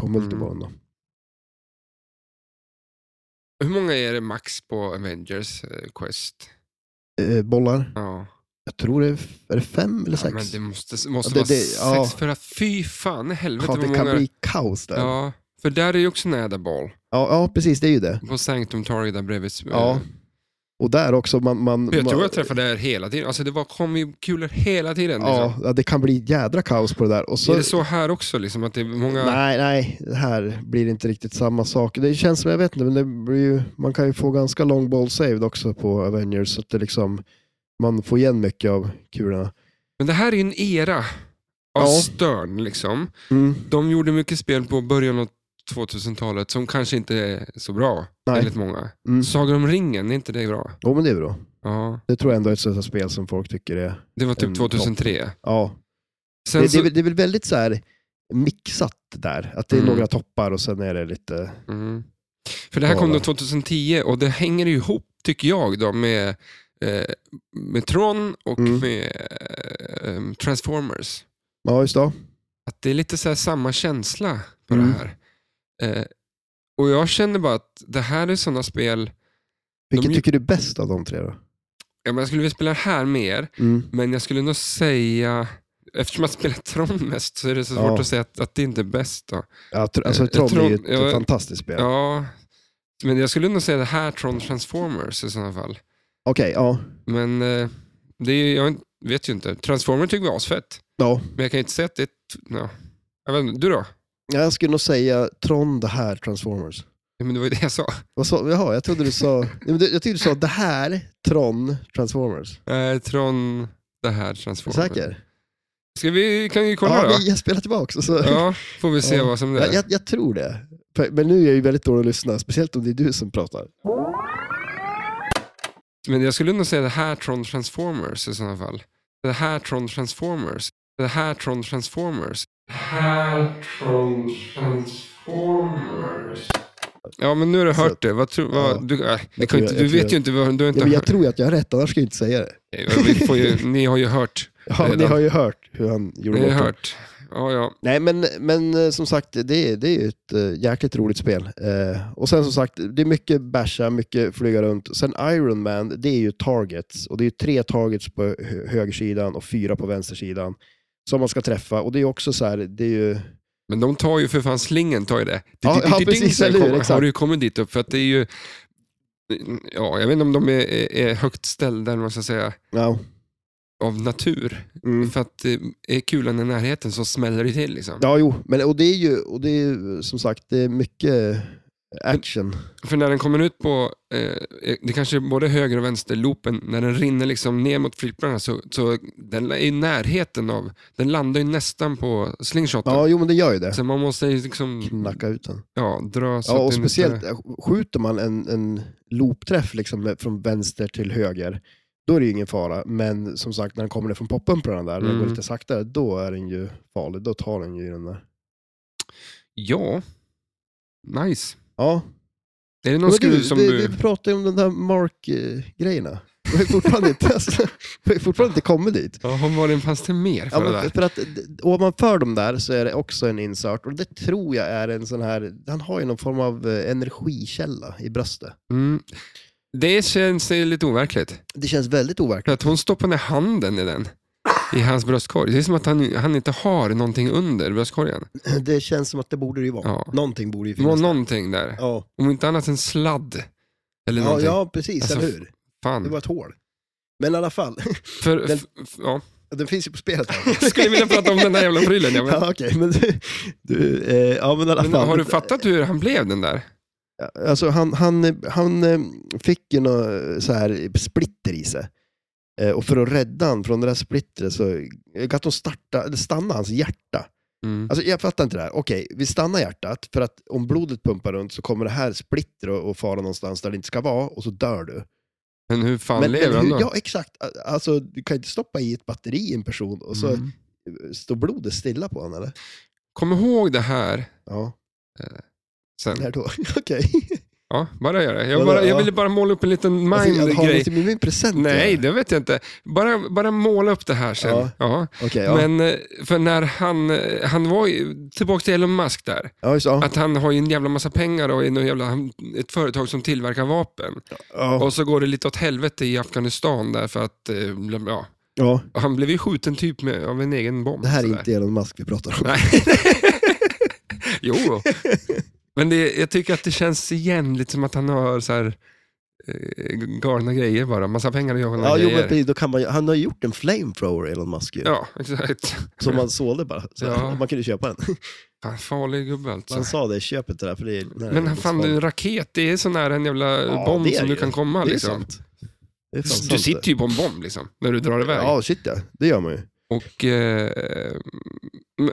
B: på
A: Mm.
B: multiballen. Då.
A: Hur många är det max på Avengers eh, Quest?
B: Eh, bollar,
A: Ja.
B: jag tror det är, f- är det fem eller
A: ja
B: sex?
A: men det måste, måste
B: Ja, det-
A: vara
B: det-
A: sex,
B: ja.
A: för att fy fan i helvete
B: Fan,
A: vad
B: det kan
A: många...
B: bli kaos där. Ja.
A: Ja, för där är ju också en ädaball.
B: Ja, precis, det är ju det.
A: På Sanctum Target där bredvid. eh,
B: Ja, Och där också, man... man
A: Jag tror
B: man,
A: jag träffade det här hela tiden. Alltså det var, kom ju kulor hela tiden. Liksom.
B: ja, ja, det kan bli jädra kaos på det där. Och så,
A: Är det så här också? Liksom, att det är många...
B: Nej, nej, det här blir inte riktigt samma sak. Det känns som, jag vet inte, men det blir ju, man kan ju få ganska lång ball saved också på Avengers. Så att det liksom, man får igen mycket av kulorna.
A: Men det här är ju en era av
B: Ja.
A: Stern. Liksom.
B: Mm.
A: De gjorde mycket spel på början av 2000-talet som kanske inte är så bra.
B: Nej.
A: Väldigt många.
B: Mm.
A: Sagan om ringen, är inte det bra?
B: Jo, men det är bra.
A: Ja,
B: Det tror jag ändå är ett sånt här spel som folk tycker är...
A: det var
B: En
A: typ 2003.
B: Ja,
A: Sen
B: Mm, det, det,
A: så,
B: är, väl- det är väl väldigt så här mixat där. Att det är
A: Mm.
B: några toppar och sen är det lite...
A: Mm. För det här kom
B: Ja,
A: då
B: va.
A: 2010 och det hänger ju ihop, tycker jag, då, med, eh, med Tron och
B: Mm.
A: med eh, em, Transformers.
B: Ja, just det.
A: Att det är lite så här samma känsla på
B: Mm.
A: det här. Eh, och jag känner bara att det här är sådana spel,
B: Vilket
A: De-
B: tycker du är bäst av de tre då?
A: ja, men jag skulle vilja spela det här mer,
B: Mm.
A: men jag skulle nog säga, eftersom jag spelar Tron mest så är det så svårt
B: Ja.
A: att säga att, att det inte är bäst. Då.
B: Ja, tr- alltså,
A: Eh,
B: Tron är ju
A: Tron-
B: ett
A: ja,
B: fantastiskt spel.
A: Ja, men jag skulle nog säga det här Tron Transformers i sådana fall.
B: Okej, ja.
A: Men eh, det är, jag vet ju inte. Transformer tycker vi är asfett.
B: ja.
A: Men jag kan ju inte säga att det är... ett- Ja. Jag vet inte, du då?
B: Jag skulle nog säga Tron, det här, Transformers.
A: Ja, men det var ju det jag sa.
B: Vad sa, jaha, jag trodde du
A: *laughs*
B: sa, Nej, men du- jag tyckte du sa det här, Tron, Transformers.
A: Eh, Tron, det här,
B: Är du
A: Transformer.
B: säker?
A: Ska vi, kan vi kolla
B: ja,
A: då?
B: vi, jag spelar tillbaka. Så,
A: Ja, får vi se
B: Ja.
A: vad som det
B: jag,
A: är.
B: jag, jag tror det. För- Men nu är jag ju väldigt dålig att lyssna, speciellt om det är du
A: *laughs*
B: som pratar.
A: Men jag skulle nog säga det här Tron Transformers i sådana fall. Det här Tron Transformers. Det här Tron Transformers. Det här Tron Transformers. Ja, men nu har du
B: Så
A: hört
B: att-
A: det. Vad tror, vad,
B: Ja.
A: du, äh, det
B: Jag
A: kan
B: tror
A: ju inte,
B: jag-
A: du
B: jag tror
A: vet ju inte. vad- Du har inte
B: Ja, men jag
A: hört.
B: tror att jag har rätt, annars ska jag inte säga det.
A: Vi får ju, ni har ju hört.
B: Ja, ni *laughs*
A: Redan.
B: har ju hört hur han
A: Det
B: gjorde
A: har jag
B: bort
A: hört. Ja, ja.
B: Nej, men, men eh, som sagt, det, är- det är ju ett eh, jäkligt roligt spel. Eh, och sen som sagt, det är mycket basha, mycket flyga runt. Sen Iron Man, det är ju targets. Och det är ju tre targets på hö- högersidan och fyra på vänstersidan som man ska träffa. Och det är också så här, det är ju...
A: Men de tar ju för fan slingen, tar ju det.
B: Ja, ja,
A: Ding,
B: precis,
A: sen
B: eller hur,
A: kom-
B: exakt.
A: Har du ju kommit dit upp, för att det är ju... Ja, jag vet inte om de är, är- är högt ställda, eller vad man ska säga,
B: Ja.
A: av natur.
B: Mm.
A: För att eh, är kulan i närheten så smäller det till. Liksom.
B: Ja, jo. Men, och det är ju, och det är ju som sagt, det är mycket action.
A: För när den kommer ut på, eh, det kanske är både höger och vänsterloopen, när den rinner liksom ner mot flygplanen så, så den är i närheten av, den landar ju nästan på slingshoten.
B: Ja, jo men det gör ju det.
A: Så man måste ju liksom
B: Knacka ut den.
A: ja, dra så
B: Ja,
A: att
B: och
A: den inte-
B: speciellt eh, skjuter man en, en loopträff liksom med- från vänster till höger, då är det ju ingen fara. Men som sagt, när den kommer ner från poppumprarna där, när den
A: Mm.
B: går lite saktare, då är den ju farlig. Då tar den ju i den där.
A: Ja, nice.
B: Ja,
A: Är det någon
B: men
A: skruv
B: du,
A: som
B: vi,
A: du...
B: vi pratar ju om den där Mark-grejerna. Vi har ju
A: *laughs*
B: fortfarande inte, *laughs* alltså, vi har fortfarande inte kommit dit.
A: Ja, vad var det, fanns det mer för
B: Ja,
A: det
B: men
A: där?
B: för att d- d- ovanför dem där så är det också en insert och det tror jag är en sån här, han har ju någon form av eh, energikälla i bröstet.
A: Mm. Det känns eh, lite overkligt.
B: Det känns väldigt overkligt.
A: För att hon stoppar ner handen i den. I hans bröstkorg. Det är som att han, han inte har någonting under bröstkorgen.
B: Det känns som att det borde det ju vara.
A: Ja.
B: Någonting borde ju
A: Det var
B: finnas.
A: någonting där.
B: Ja.
A: Om inte annat en sladd. Eller
B: Ja,
A: någonting.
B: ja, precis.
A: Alltså,
B: eller hur?
A: Fan.
B: Det var ett hål. Men i alla fall, *laughs*
A: För,
B: den-
A: f- f- ja.
B: den finns ju på spelet.
A: *laughs* Jag skulle vilja prata om den där jävla prylen. Jag men,
B: *laughs* Ja, okej. men du, du, eh, ja, men i alla
A: men,
B: fall.
A: har du fattat hur han blev den där?
B: Alltså, han, han, han eh, fick ju nå- så här splitter i sig. Eh, Och för att rädda han från det där splittret så eh, att de starta, eller stanna hans hjärta.
A: Mm.
B: Alltså, jag fattar inte det här. Okej, vi stannar hjärtat för att om blodet pumpar runt så kommer det här splitter och, och fara någonstans där det inte ska vara och så dör du.
A: Men hur fan
B: Men,
A: lever
B: men
A: han
B: hur,
A: då?
B: ja, exakt. Alltså, du kan ju inte stoppa i ett batteri i en person och så
A: Mm.
B: står blodet stilla på honom, eller?
A: Kom ihåg det här
B: Ja,
A: sen.
B: när då? *laughs* Okej.
A: Ja, bara gör det. Jag,
B: Ja,
A: bara, jag
B: ja.
A: ville bara måla upp en liten
B: Alltså, jag har
A: mind-grej.
B: inte med min present.
A: Nej,
B: eller?
A: det vet jag inte. Bara, bara måla upp det här sen.
B: Ja.
A: Ja.
B: Okej, ja.
A: Men eh, för när han, eh, han var ju, tillbaka till Elon Musk där,
B: ja, just, ja.
A: att han har ju en jävla massa pengar och är någon jävla, han- ett företag som tillverkar vapen.
B: ja.
A: Och så går det lite åt helvete i Afghanistan där för att, eh, bla- ja,
B: ja.
A: han blev ju skjuten typ med, av en egen bomb.
B: Det här är
A: sådär.
B: inte Elon Musk vi pratar om.
A: Nej.
B: *laughs*
A: jo. Men det, jag tycker att det känns igen lite som att han har så här eh, galna grejer bara. Massa pengar och galna
B: Ja, jo, men
A: grejer.
B: precis, då kan man, ju- han har ju gjort en flamethrower, Elon Musk, ju,
A: ja, exakt.
B: som man sålde bara. Så
A: Ja.
B: Man kunde köpa den.
A: Fan, farlig gubbe alltså.
B: Han sa det, köp inte det där, för det är... nej,
A: Men
B: det är liksom-
A: han fan,
B: farligt.
A: en raket, det är så nära en jävla
B: Eh, Ja,
A: bomb
B: det är
A: som du
B: det.
A: kan komma.
B: Det är
A: Liksom.
B: sant. Det är fan
A: Du
B: sant
A: sitter ju på en bomb liksom, när du drar
B: det.
A: iväg.
B: Ja, shit ja. Det gör man ju.
A: Och, eh,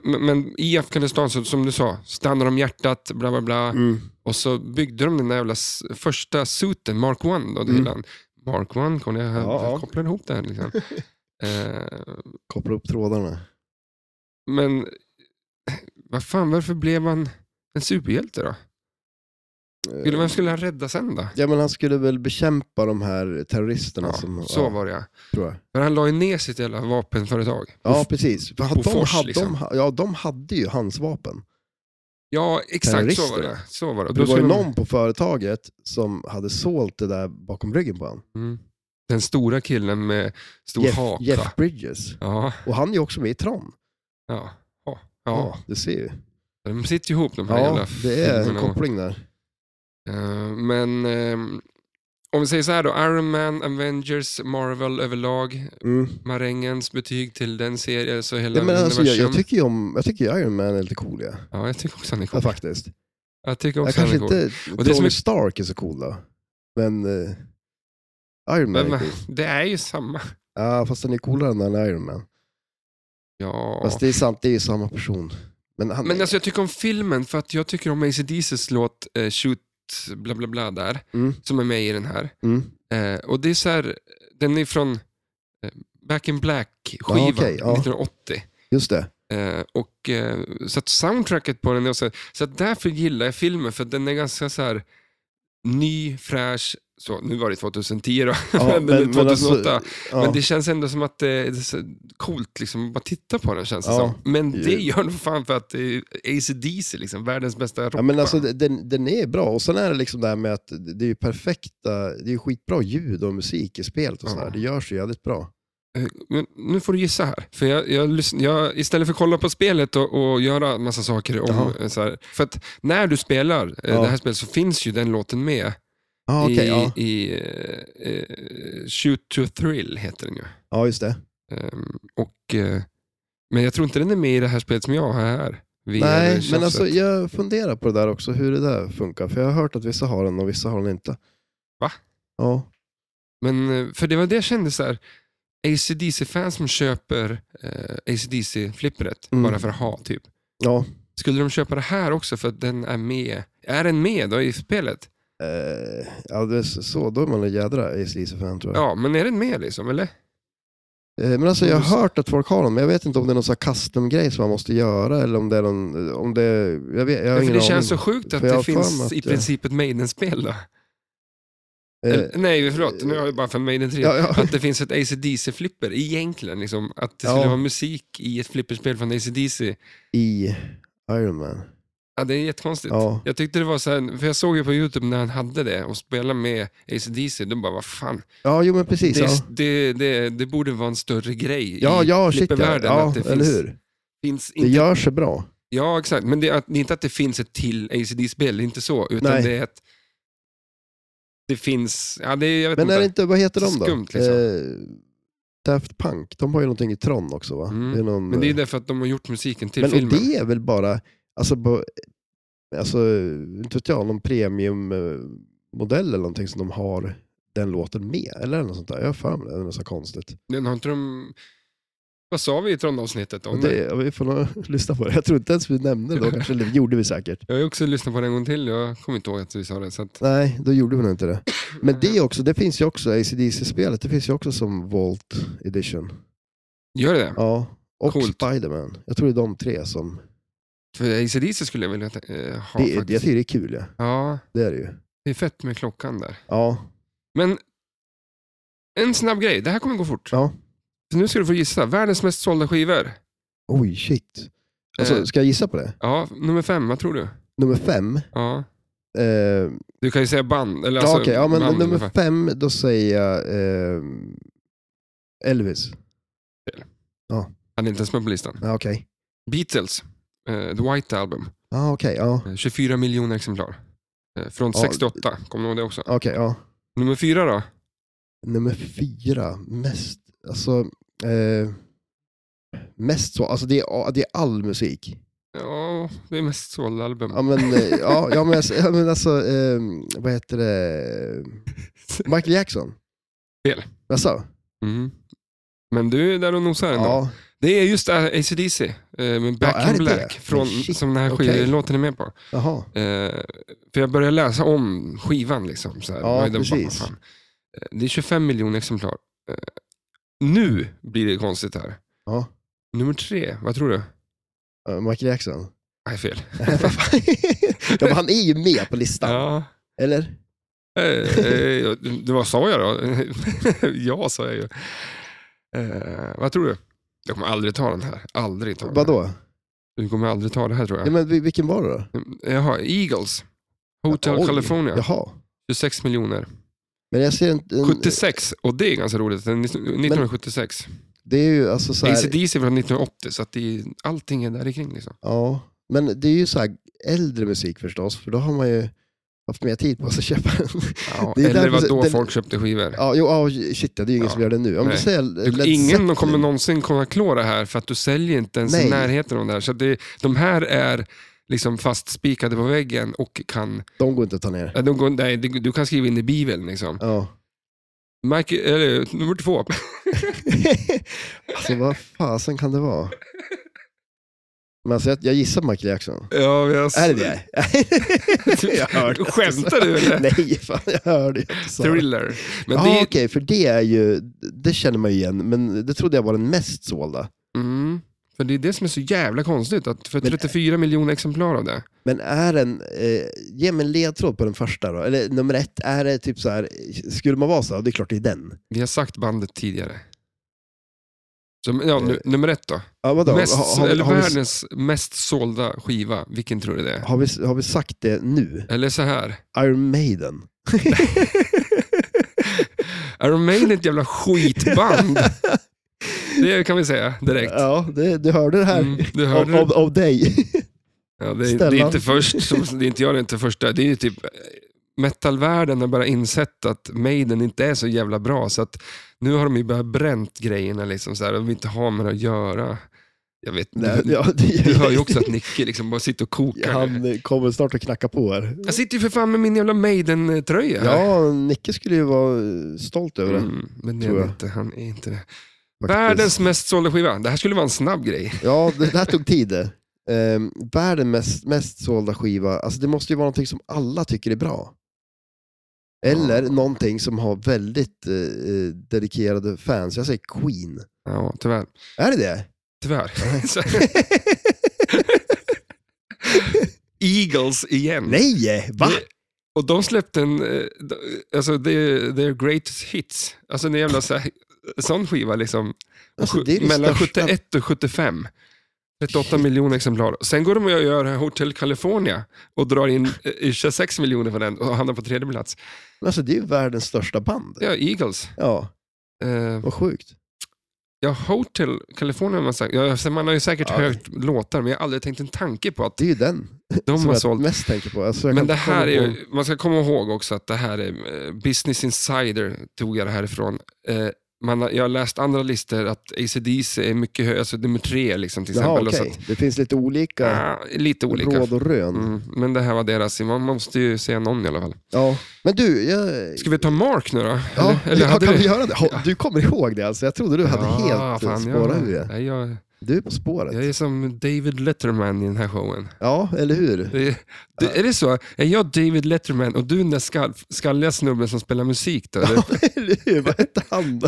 A: men, men i Afghanistan, så, som du sa, stannar de hjärtat, bla bla bla.
B: Mm.
A: Och så byggde de den där jävla s- första suiten, Mark 1 då,
B: Mm.
A: Dylan. Mark 1, kom jag,
B: Ja, ja.
A: jag kopplade ihop det här
B: *laughs*
A: liksom. eh,
B: Koppla upp trådarna.
A: men eh, vad fan, varför blev han en superhjälte då? Skulle,
B: Eh.
A: vem skulle han rädda sen då?
B: Ja, men han skulle väl bekämpa de här terroristerna.
A: Ja,
B: som,
A: så var det ja.
B: tror jag.
A: För han la ju ner sitt jävla vapenföretag.
B: Ja, precis. För att de,
A: Bofors,
B: hade,
A: liksom.
B: de, ha- ja, de hade ju hans vapen.
A: Ja, exakt så var
B: Terroristerna.
A: det. Så var det. Och
B: Det var ju
A: skulle de-
B: någon på företaget som hade sålt det där bakom ryggen på honom.
A: Mm. Den stora killen med stor
B: Jeff,
A: haka.
B: Jeff Bridges.
A: Ja,
B: Och han är ju också med i Tron.
A: ja, ja, ja.
B: Ja, du ser ju.
A: De sitter ju ihop de här jävla
B: Ja, det är en
A: filmerna.
B: koppling där.
A: Eh, men ehm, om vi säger så här då, Iron Man, Avengers, Marvel överlag,
B: Mm. marängens
A: marängens betyg till den serien, så hela
B: Ja, men alltså, jag, jag
A: universum.
B: tycker ju om, jag tycker ju Iron Man är lite cool. Ja.
A: Ja, jag tycker också han är
B: Ja,
A: cool.
B: faktiskt.
A: jag tycker
B: Jag
A: också han
B: kanske
A: är cool.
B: inte
A: Och det
B: Tony
A: som är-
B: Stark är så cool då. Men eh, Iron Man
A: Men,
B: är cool.
A: det är ju samma.
B: Ja, fast han är coolare än han är Iron Man.
A: Ja.
B: Fast det är sant, det är ju samma person. Men han
A: Men alltså jag tycker om filmen, för att jag tycker om AC/DCs låt eh, Shoot bla bla bla där,
B: Mm.
A: som är med i den här.
B: Mm.
A: Eh, och det är så här, den är från eh, Back in Black-skivan,
B: Ja, okej, ja.
A: 1980. *laughs*
B: Just det.
A: Eh, och, eh, så att soundtracket på den är också, så att därför gillar jag filmen, för att den är ganska så här ny, fräsch, Så, nu var det 2010 då,
B: Ja,
A: men,
B: men- men
A: 2008.
B: alltså, ja.
A: Men det känns ändå som att eh, det är så coolt liksom, att bara titta på den känns det
B: Ja.
A: som. Men det
B: Ju-
A: gör nog fan för att eh, AC/DC liksom, världens bästa rockband.
B: Ja, men alltså, den, den är bra. Och sen är det liksom det här med att det är ju perfekta, det är ju skitbra ljud och musik i spelet och
A: Ja.
B: sådär. Det görs ju jävligt bra.
A: Eh, Men nu får du gissa här. För jag, jag, lyssn- jag, istället för att kolla på spelet och, och göra massa saker om...
B: Jaha.
A: eh, Så här, för att när du spelar eh,
B: Ja.
A: det här spelet så finns ju den låten med
B: Ja, okej.
A: i,
B: ja.
A: i eh, eh, Shoot to Thrill heter den ju.
B: ja, just det.
A: Ehm, och, eh, men jag tror inte den är med i det här spelet som jag har här. via
B: Nej,
A: tjafset.
B: men alltså jag funderar på det där också, hur det där funkar. För jag har hört att vissa har den och vissa har den inte.
A: Va?
B: Ja.
A: Men, eh, för det var det jag kände så här. ACDC-fans som köper eh, ACDC-flippret
B: Mm.
A: bara för att ha, typ.
B: Ja.
A: Skulle de köpa det här också för att den är med? Är den med då i spelet?
B: Eh, ja, det är så, då är man en jädra ACDC-fan tror jag.
A: Ja, men är den med liksom, eller?
B: Eh, Men alltså jag har
A: Mm.
B: hört att folk har dem, men jag vet inte om det är någon sån här custom-grej som man måste göra eller om det är någon, om det, jag, vet, jag har
A: Ja, för
B: ingen
A: det
B: aning.
A: känns så sjukt att
B: För jag
A: det
B: har för mig
A: finns
B: att
A: i
B: jag-
A: princip ett Maiden-spel då.
B: Eh,
A: Eller, nej, förlåt. Nu har jag bara för Maiden 3.
B: ja, ja.
A: *laughs* Att det finns ett ACDC-flipper egentligen. Liksom, att det
B: Ja.
A: skulle vara musik i ett flipperspel från ACDC.
B: I Iron Man.
A: Ja, det är jättekonstigt.
B: Ja.
A: Jag tyckte det var så här, för jag såg ju på YouTube när han hade det och spelade med ACDC. De bara, vad fan.
B: ja, jo men precis.
A: Det,
B: ja.
A: det, det, det borde vara en större grej
B: Ja,
A: i
B: ja, shit ja.
A: flippervärlden.
B: ja
A: att det
B: eller
A: finns,
B: hur?
A: Finns
B: Det
A: inte
B: gör sig bra.
A: Ja, exakt. Men det är, att, det är inte att det finns ett till ACD-spel, det är inte så. Utan
B: Nej.
A: det är att det finns... Ja, det är, jag vet
B: Men
A: inte.
B: är det inte, vad heter de då?
A: Skumt, liksom.
B: eh, Daft Punk, de har ju någonting i Tron också va?
A: Mm.
B: är någon,
A: Men det är därför att de har gjort musiken till
B: men och
A: filmen.
B: det är väl bara, alltså, på, alltså inte vet jag, någon premiummodell eller någonting som de har den låten med, eller är det något sånt där? Jag har för mig det, det är något så konstigt.
A: Den har inte de... Vad sa vi i Trondavsnittet om
B: Men
A: det?
B: det, ja, vi får nog *laughs* lyssna på det. Jag tror inte ens vi
A: *laughs*
B: nämnde det då, kanske, eller det gjorde vi säkert.
A: Jag har ju också lyssnat på den en gång till, jag kommer inte ihåg att vi sa det. Så att,
B: Nej, då gjorde vi nog inte det. Men det är också, det finns ju också, ACDC-spelet, det finns ju också som Volt Edition.
A: gör det?
B: Ja, och
A: Coolt.
B: Spiderman. Jag tror det är de tre som...
A: För ACDC skulle jag vilja eh, ha
B: det, jag
A: faktiskt.
B: tycker det är kul, ja.
A: Ja,
B: Det är det ju.
A: det är fett med klockan där.
B: Ja,
A: Men en snabb grej, det här kommer gå fort.
B: Ja.
A: Så nu ska du få gissa. Världens mest sålda skivor.
B: oj shit.
A: Eh.
B: Alltså, ska jag gissa på det?
A: Ja, nummer fem, vad tror du?
B: Nummer fem.
A: Ja.
B: Eh,
A: Du kan ju säga band. Eller
B: ja,
A: alltså,
B: okej. ja, men
A: namn
B: nummer
A: ungefär.
B: fem, då säger jag eh, Elvis.
A: Han är inte ens med på listan.
B: Ja, okej.
A: Beatles, eh, The White Album.
B: Ja, okej. Ja,
A: eh, 24 miljoner exemplar. Eh, från
B: Ja.
A: 68, kommer du ihåg det också?
B: okej. Ja.
A: Nummer fyra då?
B: Nummer fyra, mest, alltså, eh, mest så, alltså det är, det är all musik.
A: Ja, det är mest sålda album.
B: Ja, men, eh, ja, ja, men, alltså, ja, men alltså, eh, vad heter det? Michael Jackson?
A: Fel.
B: Jaså?
A: Mm. Men du är där och nosar ändå.
B: Ja,
A: Det är just AC/DC eh, med Back
B: Ja, är
A: in
B: det
A: Black,
B: det?
A: Från,
B: Shit,
A: som den här
B: okej.
A: skivlåten är med på.
B: jaha.
A: Eh, för jag började läsa om skivan. Liksom, så här.
B: Ja,
A: Vad är den-
B: precis.
A: fan. Eh, Det är 25 miljoner exemplar. Eh, nu blir det konstigt här.
B: Ja.
A: Nummer tre, vad tror du?
B: Eh, Michael Jackson. *laughs*
A: Nej, fel.
B: Vad fan? ja, men han är ju med på listan,
A: Ja.
B: eller?
A: Eh, eh, det var sa jag då? *laughs* ja, sa jag ju. Eh, vad tror du? Jag kommer aldrig ta den här. Aldrig ta den här.
B: Vadå?
A: Du kommer aldrig ta det här tror jag.
B: Ja, men vi- vilken var det då?
A: Jaha, Eagles. Hotel
B: Oj,
A: California.
B: Jaha.
A: 26 miljoner.
B: Men jag ser inte... En,
A: 76, och det är ganska roligt. Den är 1976.
B: Det är ju alltså så här,
A: ACDC är från 1980, så att det är, allting är där i kring liksom.
B: Ja, men det är ju så här äldre musik förstås, för då har man ju haft mer tid på sig att köpa den.
A: Ja,
B: Det är
A: eller
B: därför-
A: vad då
B: den-
A: folk köpte skivor.
B: *laughs* Ja, jo, ja, shit, ja, det är ju ingen
A: Ja.
B: som gör det nu. Om
A: Nej.
B: du säger Led
A: Du, ingen
B: Zeppelin-
A: kommer någonsin kunna klara det här för att du säljer inte ens i
B: Nej.
A: närheten av det här. Så att det, de här är liksom fastspikade på väggen och kan...
B: De går inte att ta ner.
A: äh, De går, nej, du du kan skriva in i Bibeln liksom.
B: Ja. *laughs*
A: Mike, eller, nummer två.
B: alltså vad fasen kan det vara? Men alltså, jag, jag gissar Michael Jackson.
A: Ja, jag,
B: Är det
A: *laughs*
B: det? *laughs* jag hörde inte.
A: Skämtar du, eller?
B: Nej, fan, jag hörde inte. så.
A: Thriller. Men
B: ja,
A: det,
B: okej, för det är ju, det känner man ju igen, men det trodde jag var den mest sålda.
A: mm, För det är det som är så jävla konstigt, att för
B: Men-
A: 34 miljoner exemplar av det.
B: Men är den, eh, ge mig en ledtråd på den första då, eller nummer ett, är det typ så här, skulle man vara så, här, det är klart det är den.
A: Vi har sagt bandet tidigare. Så, ja, nu,
B: Eh,
A: nummer ett då.
B: Ja, vadå?
A: Mest,
B: har, har,
A: eller
B: har, vi,
A: världens mest sålda skiva, vilken tror du det är?
B: har, vi, har vi sagt det nu?
A: Eller så här.
B: Iron Maiden.
A: Iron Maiden är ett jävla
B: *laughs*
A: skitband. Det kan vi säga *laughs* direkt.
B: Ja, det, du hörde det här
A: Mm, du
B: av,
A: hörde
B: av,
A: det.
B: av dig. *laughs*
A: Ja, det, är, det är
B: Stellan.
A: inte först, som, det är inte jag, det är inte första. Det är ju typ, eh, metalvärlden har bara insett att Maiden inte är så jävla bra, så att nu har de ju börjat bränt grejerna liksom, så här, och vill inte ha med det att göra. Jag vet,
B: Nej,
A: du,
B: ja, det,
A: du hör ju också att Nicke liksom bara sitter och kokar.
B: Han eh, kommer snart att knacka på här.
A: Jag sitter ju för fan med min jävla Maiden-tröja. här.
B: Ja, Nicke skulle ju vara eh, stolt över det.
A: Mm, men det
B: tror
A: är
B: jag.
A: han inte, han är inte det.
B: faktiskt.
A: Världens mest sålda skiva. Det här skulle vara en snabb grej.
B: Ja, det, det här tog tid. det. Ehm, världens mest, mest sålda skiva, alltså det måste ju vara någonting som alla tycker är bra. Eller
A: Ja.
B: någonting som har väldigt eh, eh, dedikerade fans. Jag säger Queen.
A: Ja, tyvärr.
B: Är det det? *laughs*
A: Tyvärr. Så- Eagles igen.
B: Nej! Va?
A: Mm. Det- Och de släppte en, eh, d- alltså their, their greatest hits. Alltså en jävla så här, sån skiva liksom.
B: Alltså,
A: Sju-
B: det är det
A: Mellan
B: största-
A: 71 och 75. 38
B: Shit.
A: miljoner exemplar. Sen går de och gör Hotel California och drar in eh, 26 miljoner för den och hamnar på tredje plats.
B: Alltså det är ju världens största band.
A: Ja, Eagles.
B: Ja,
A: Eh,
B: vad sjukt.
A: Ja, Hotel California har man sagt. Ja, alltså, man har ju säkert
B: Ja.
A: hört låtar, men jag har aldrig tänkt en tanke på att
B: Det är ju den
A: de
B: som
A: har
B: jag
A: sålt.
B: mest tänker på. Alltså, jag
A: Men
B: kan
A: det
B: inte komma
A: här är
B: på-
A: ju, man ska komma ihåg också att det här är, eh, Business Insider tog jag det här ifrån. Eh, man har, jag har läst andra listor att ACDC är mycket högre, alltså nummer tre liksom till
B: Jaha,
A: exempel. Och så
B: okej. Det finns lite olika
A: att, ja, lite olika.
B: råd och rön.
A: Mm, men det här var deras, man måste ju säga någon i alla fall.
B: Ja. Men du, jag...
A: Ska vi ta Mark nu då?
B: Ja,
A: Eller- eller
B: ja,
A: hade
B: kan
A: du-
B: vi göra det? Ha- Du kommer ihåg det alltså? Jag trodde du hade helt eh, spårat
A: jag,
B: ur det.
A: Nej, jag,
B: Du är på spåret.
A: jag är som David Letterman i den här showen.
B: Ja, eller hur?
A: Det, det, är det så? Är jag David Letterman och du den där skall, skalliga snubben som spelar musik? Då?
B: *laughs*
A: Eller?
B: *laughs* Ja, eller hur? Vad hette han?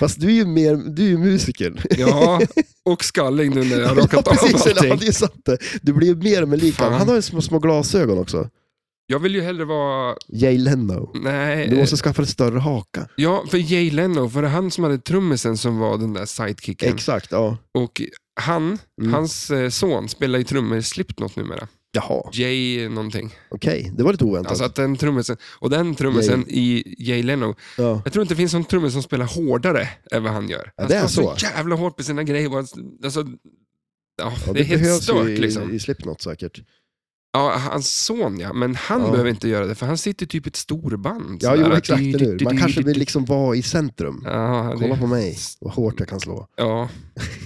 B: *laughs* Fast du är ju mer, du är ju musikern.
A: Ja, och skallig nu när jag har rakat av
B: precis, eller, *laughs* ja,
A: allting.
B: det är sant det. Du blir ju mer och mer lik han.
A: Fan.
B: Han har ju små, små glasögon också.
A: Jag vill ju hellre vara...
B: Jay Leno.
A: Nej,
B: Du måste skaffa en större haka.
A: ja, för Jay Leno, för det var han som hade trummisen som var den där sidekicken.
B: Exakt, ja.
A: och han,
B: Mm.
A: hans eh, son, spelar ju trummor i Slipknot numera.
B: Jaha,
A: Jay någonting.
B: okej. Det var lite oväntat.
A: Alltså att den trummisen, och den trummisen i Jay Leno,
B: ja.
A: jag tror inte det finns någon trummis som spelar hårdare än vad han gör.
B: Ja,
A: han
B: det är
A: spelar
B: så.
A: jävla hårt på sina grejer. bara- Alltså, ja,
B: Ja,
A: det är helt
B: behövs ju
A: stört
B: i,
A: liksom.
B: i Slipknot säkert.
A: Ja, hans son ja, men han
B: Ja.
A: behöver inte göra det för han sitter typ i ett storband.
B: Ja, jo, exakt. Eller hur? Man kanske vill liksom vara i centrum.
A: Ja,
B: Kolla
A: det,
B: på mig, vad hårt jag kan slå.
A: ja.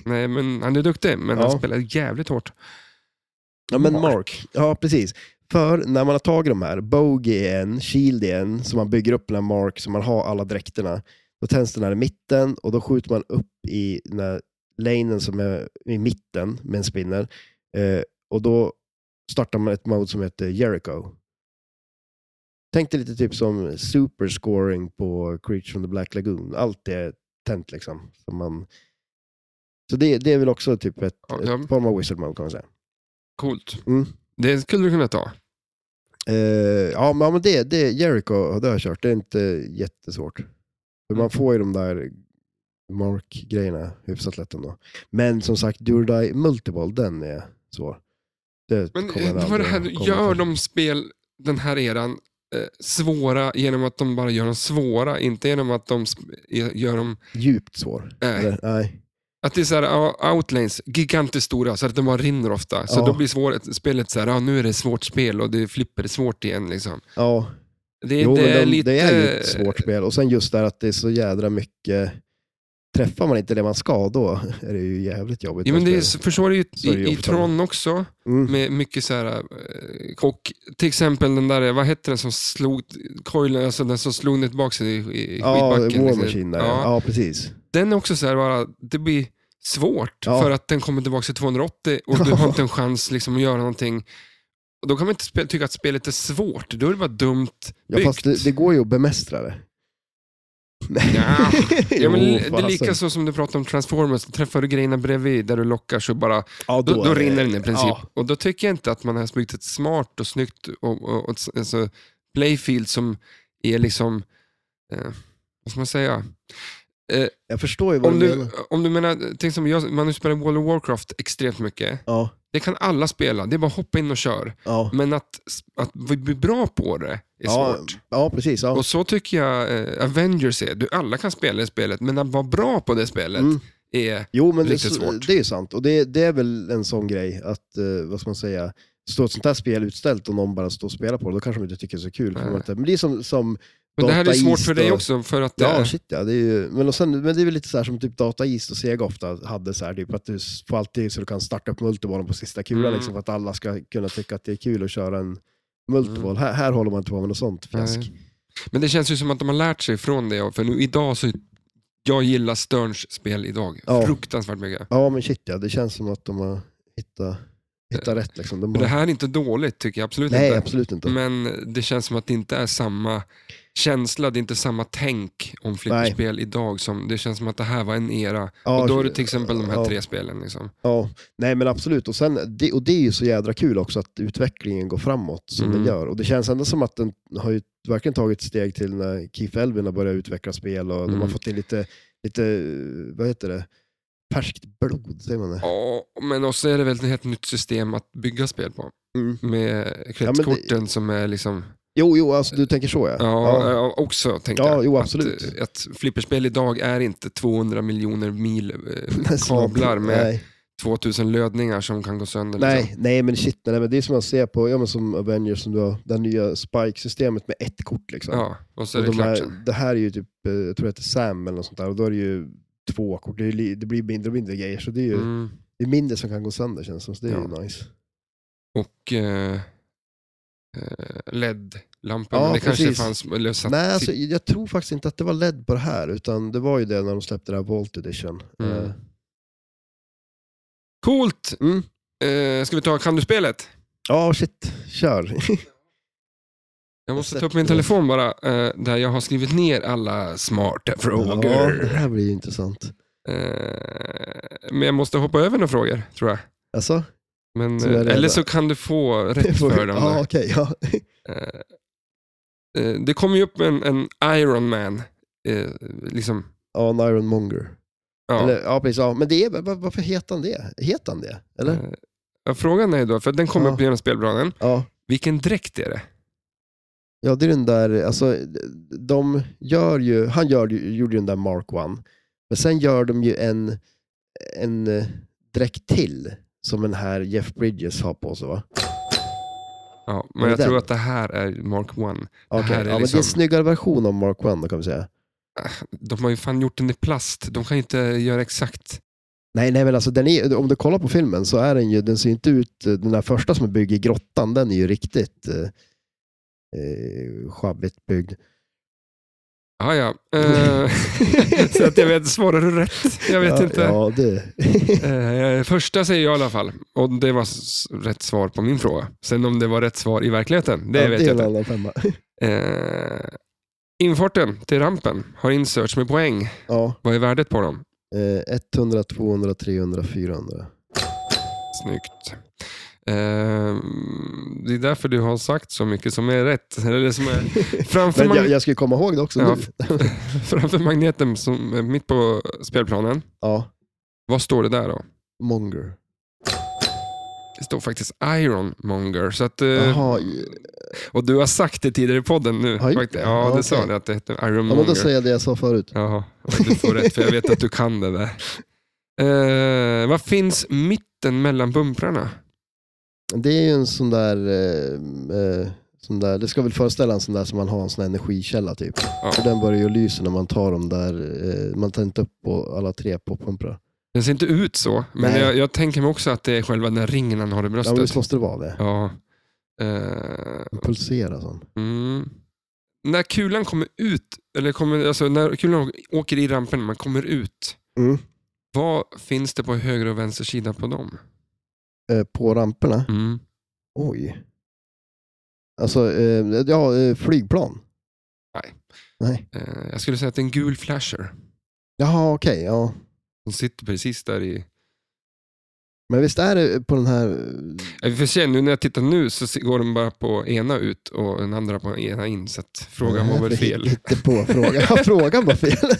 A: Nej, men han är duktig, men
B: Ja.
A: han spelar jävligt hårt.
B: Ja, men
A: Mark.
B: Mark. Ja, precis. För när man har tagit de här, Bogey är en, Shield är en, som man bygger upp den här Mark, så man har alla dräkterna. Då tänds den här i mitten och då skjuter man upp i den här lanen som är i mitten med en spinner. Eh, och då startar man ett mode som heter Jericho. Tänk dig lite typ som superscoring på Creature from the Black Lagoon. Allt är tänt liksom. Så, man... så det, det är väl också typ ett,
A: Ja, ja.
B: ett form av wizard mode kan man säga.
A: Coolt.
B: Mm.
A: Det skulle du kunna ta.
B: Eh, ja, men ja, men det, det Jericho det har jag kört. Det är inte jättesvårt. För
A: Mm.
B: Man får ju de där Mark-grejerna hyfsat lätt ändå. Men som sagt, Durdai Multiball, den är svår. Det
A: Men
B: kommer
A: eh,
B: jag
A: det var det
B: aldrig
A: här,
B: komma
A: gör
B: till.
A: de spel den här eran eh, svåra genom att de bara gör dem svåra, inte genom att de sp- eh, gör dem... eh,
B: Djupt svår.
A: Nej.
B: Eller, nej.
A: Att det är så här, ja, outlanes, gigantiskt stora, så att de bara rinner ofta. Så
B: Ja.
A: då blir svårt, spelet så här, ja, nu är det ett svårt spel och det flipper är svårt igen. Liksom.
B: Ja,
A: Det,
B: jo,
A: det,
B: men
A: är
B: de,
A: lite,
B: det är ju ett svårt spel. Och sen just det här att det är så jädra mycket... Träffar man inte det man ska, då är det ju jävligt jobbigt.
A: Ja, men
B: att
A: det är,
B: spela.
A: så- för så är det ju
B: Så är det
A: i, i
B: jobbigt,
A: Tron också,
B: Mm.
A: med mycket så här, eh, och till exempel den där, vad hette den som slog coilen, alltså den som slog ner tillbaka i, i
B: Ja,
A: skitbacken?
B: War
A: liksom.
B: Machine där.
A: Ja.
B: Ja, precis.
A: Den är också så här, bara, det blir svårt
B: Ja.
A: för att den kommer tillbaka till 280 och du har inte
B: *laughs*
A: en chans liksom, att göra någonting. Och då kan man inte spe- tycka att spelet är svårt, då är det bara dumt
B: Ja,
A: byggt.
B: *laughs* fast det, det går ju att bemästra det.
A: *laughs* Ja. Ja, men
B: *laughs* Jo, alltså.
A: det är lika
B: fasen.
A: så som du pratade om Transformers, träffar du grejerna bredvid där du lockar så bara,
B: Ja,
A: då, då
B: är det-
A: rinner den i princip.
B: Ja,
A: Och då tycker jag inte att man har byggt ett smart och snyggt och, och, och, alltså, playfield som är liksom, eh, vad ska man säga?
B: jag förstår ju vad
A: Om
B: du,
A: du,
B: menar.
A: om du menar, tänk som jag, man har ju spelat World of Warcraft extremt mycket.
B: Ja,
A: Det kan alla spela, det är bara hoppa in och kör.
B: ja.
A: Men att, att bli bra på det är
B: Ja,
A: svårt.
B: ja, precis. Ja.
A: Och så tycker jag eh, Avengers är. Du, alla kan spela det spelet, men att vara bra på det spelet
B: Mm.
A: är...
B: Jo, men det,
A: Riktigt svårt.
B: det är ju sant. Och det, det är väl en sån grej att, eh, vad ska man säga, står ett sånt här spel utställt och någon bara står och spelar på det, då kanske de inte tycker det är så kul. För
A: Nej.
B: de inte, men det är som, som
A: Men det här är
B: Data
A: svårt
B: East
A: för dig
B: och-
A: också, för att...
B: Ja,
A: eh,
B: shit ja. Det är ju, men, och sen, men det är väl lite så här som typ Data East och Sega ofta hade, så här, typ, att du får alltid så du kan starta upp multibollen på sista kulan,
A: Mm.
B: liksom, för att alla ska kunna tycka att det är kul att köra en multiboll. Här, här håller man inte på med något sånt fjäsk.
A: Mm. Nej. men det känns ju som att de har lärt sig från det, för nu idag så... Jag gillar Sterns spel idag.
B: Ja.
A: Fruktansvärt mycket.
B: Ja, men shit ja. Det känns som att de har hittat, hittat rätt. Liksom. De
A: Och det
B: har,
A: här är inte dåligt, tycker jag absolut
B: nej,
A: inte.
B: absolut inte.
A: Men det känns som att det inte är samma känsla, det är inte samma tänk om flipperspel idag. Som, det känns som att det här var en era.
B: Ja,
A: och då är det till exempel de här
B: ja.
A: tre spelen. Liksom.
B: Ja, nej men absolut. Och, sen, det, och det är ju så jädra kul också att utvecklingen går framåt som
A: Mm.
B: den gör. Och det känns ändå som att den har ju verkligen tagit ett steg till när Keith Elvin har börjat utveckla spel och de har
A: Mm.
B: fått in lite, lite, vad heter det, färskt blod, säger man det?
A: Ja, men också är det väl ett helt nytt system att bygga spel på.
B: Mm.
A: Med kretskorten som är liksom...
B: Jo, jo, alltså du tänker så ja.
A: Ja, ja. också tänker
B: Ja,
A: jag.
B: jo,
A: Att,
B: absolut.
A: eh, Att, flipperspel idag är inte 200 miljoner mil eh,
B: *laughs* Snart.
A: kablar med liksom.
B: Nej,
A: 2000 lödningar som kan gå sönder. Liksom.
B: nej, nej men shit, nej, men det är som man ser på, ja men som Avengers, som du har, det här nya Spike-systemet med ett kort liksom.
A: Ja, och så är
B: Och
A: det
B: de
A: klart
B: här-
A: sen.
B: det här är ju typ, eh, jag tror det heter Sam eller något sånt där, och då är det ju två kort. Det, är ju li- det blir mindre och mindre grejer, så det är ju
A: Mm.
B: det är mindre som kan gå sönder känns det som, så det är ju nice.
A: Och eh, eh, LED-lampor.
B: Ja,
A: men det kanske
B: precis.
A: fanns... Eller satt,
B: Nej, alltså, jag tror faktiskt inte att det var LED på det här, utan det var ju det när de släppte det här Volt Edition.
A: Mm.
B: Eh,
A: Coolt!
B: Mm.
A: Eh, ska vi ta Kan du-spelet?
B: Ja, shit,
A: *laughs*
B: kör.
A: Jag måste ta upp
B: sätter
A: min
B: det.
A: telefon bara, eh, där jag har skrivit ner alla smarta
B: ja,
A: frågor.
B: det här blir ju intressant.
A: Eh, men jag måste hoppa över några frågor, tror jag.
B: Alltså?
A: Men,
B: Så är det
A: eh, eller
B: bara-
A: så kan du
B: *laughs*
A: få rätt för dem.
B: ja,
A: där.
B: okej. ja. *laughs*
A: Eh, eh, det kom ju upp en, en Iron Man. Eh, liksom,
B: ja, en Iron Monger.
A: ja.
B: Eller, ja, precis. Ja. Men det är, va- varför heter han det? Heter han det? Eller?
A: Eh, ja, frågan är ju då, för den kom
B: Ja.
A: upp genom spelplanen.
B: Ja.
A: Vilken dräkt är det?
B: Ja, det är den där, alltså, de gör ju, han gör, ju- gjorde ju den där Mark One, men sen gör de ju en, en eh, dräkt till som den här Jeff Bridges har på sig va?
A: Ja,
B: Är
A: men
B: det
A: jag tror
B: den?
A: att det här är Mark One.
B: Okej,
A: här är
B: ja, men det är
A: liksom-
B: en snyggare version av Mark One då kan vi säga.
A: De har ju fan gjort den i plast. De kan inte göra exakt.
B: Nej, nej men alltså den är, om du kollar på filmen så är den ju, den ser inte ut, eh, den där första som är byggd i grottan, den är ju riktigt eh, eh, sjabbigt byggd.
A: Ah, ja.
B: *laughs*
A: Eh, *laughs* så att jag vet, svarar du rätt? Jag vet
B: ja,
A: inte.
B: Ja, det.
A: Eh, första säger jag i alla fall. Och det var s- rätt svar på min fråga. Sen om det var rätt svar i verkligheten, det
B: ja,
A: vet
B: det är
A: jag
B: en
A: inte.
B: annan femma.
A: Eh, infarten till rampen har inserts med poäng.
B: Ja,
A: Vad är värdet på dem?
B: eh, 100, 200, 300,
A: *laughs*
B: 400.
A: Snyggt. Eh, det är därför du har sagt så mycket som är rätt. *laughs* Eller som
B: *laughs*
A: är framför,
B: Men jag,
A: mag-
B: jag ska ju komma ihåg det också
A: Ja.
B: nu.
A: framför magneten som är mitt på spelplanen.
B: Ja,
A: Vad står det där då?
B: Monger.
A: Det står faktiskt Ironmonger. Så att, eh,
B: Jaha, ja,
A: och du har sagt det tidigare i podden nu.
B: Har jag
A: faktiskt.
B: gjort det?
A: Ja,
B: Ja,
A: det
B: okej.
A: sa det att det heter Ironmonger.
B: ja men då säger jag det jag sa förut.
A: Jaha, du får rätt för jag vet att du kan det
B: *laughs*
A: där. Eh, vad finns mitten mellan bumprarna?
B: Det är ju en sån där, eh, eh, sån där, det ska väl föreställa en sån där som man har en sån här energikälla typ.
A: Ja.
B: För den börjar ju lysa när man tar dem där, eh, man tar inte upp på alla tre på pumprar.
A: Den ser inte ut så, men
B: Nej.
A: jag, jag tänker mig också att det är själva den här ringen han har i
B: Ja men
A: bröstet.
B: visst måste det vara det.
A: Ja. Eh,
B: Den pulserar sån.
A: mm. När kulan kommer ut, eller kommer, alltså när kulan åker i rampen man kommer ut,
B: Mm.
A: vad finns det på höger och vänster sida på dem?
B: Eh, på ramperna?
A: Mm.
B: Oj. Alltså, eh, ja, eh, flygplan.
A: Nej.
B: Nej.
A: Eh, jag skulle säga att det är en gul flasher.
B: Jaha, okej. ja.
A: Hon sitter precis där i...
B: Men visst är det på den här...
A: Eh, För sen, nu när jag tittar nu så se- går den bara på ena ut och den andra på ena in. Så att frågan var väl fel. *laughs*
B: Inte på frågan. Ja, frågan var fel.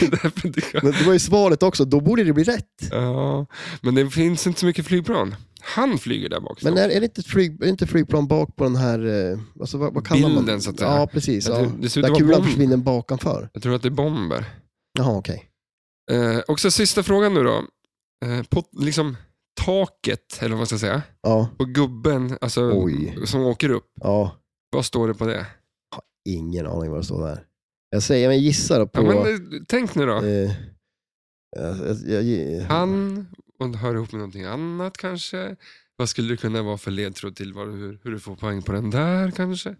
A: Därför tycker jag-
B: Men det var ju svaret också. Då borde det bli rätt.
A: ja, men det finns inte så mycket flygplan. Han flyger där bak.
B: Men
A: så.
B: är, är, det inte ett flyg, är det inte flygplan bak på den här... eh, Alltså, vad, vad kallar man
A: Bilden, så att säga.
B: Ja, precis.
A: Ja,
B: Ja.
A: det- det ser ut
B: Där
A: att vara
B: kulan
A: bomb.
B: försvinner bakanför.
A: Jag tror att det är bomber.
B: Jaha, okej.
A: Eh, och så sista frågan nu då. Eh, på liksom taket, eller vad man ska säga,
B: Ja,
A: på gubben alltså,
B: Oj.
A: som åker upp.
B: ja.
A: Vad står det på det?
B: Ingen aning vad det står där. Jag säger, men gissa då på...
A: Ja, men, eh, tänk nu då.
B: eh, jag, jag, jag,
A: Han, och det hör ihop med någonting annat kanske. Vad skulle det kunna vara för ledtråd till vad, hur, hur du får poäng på den där kanske?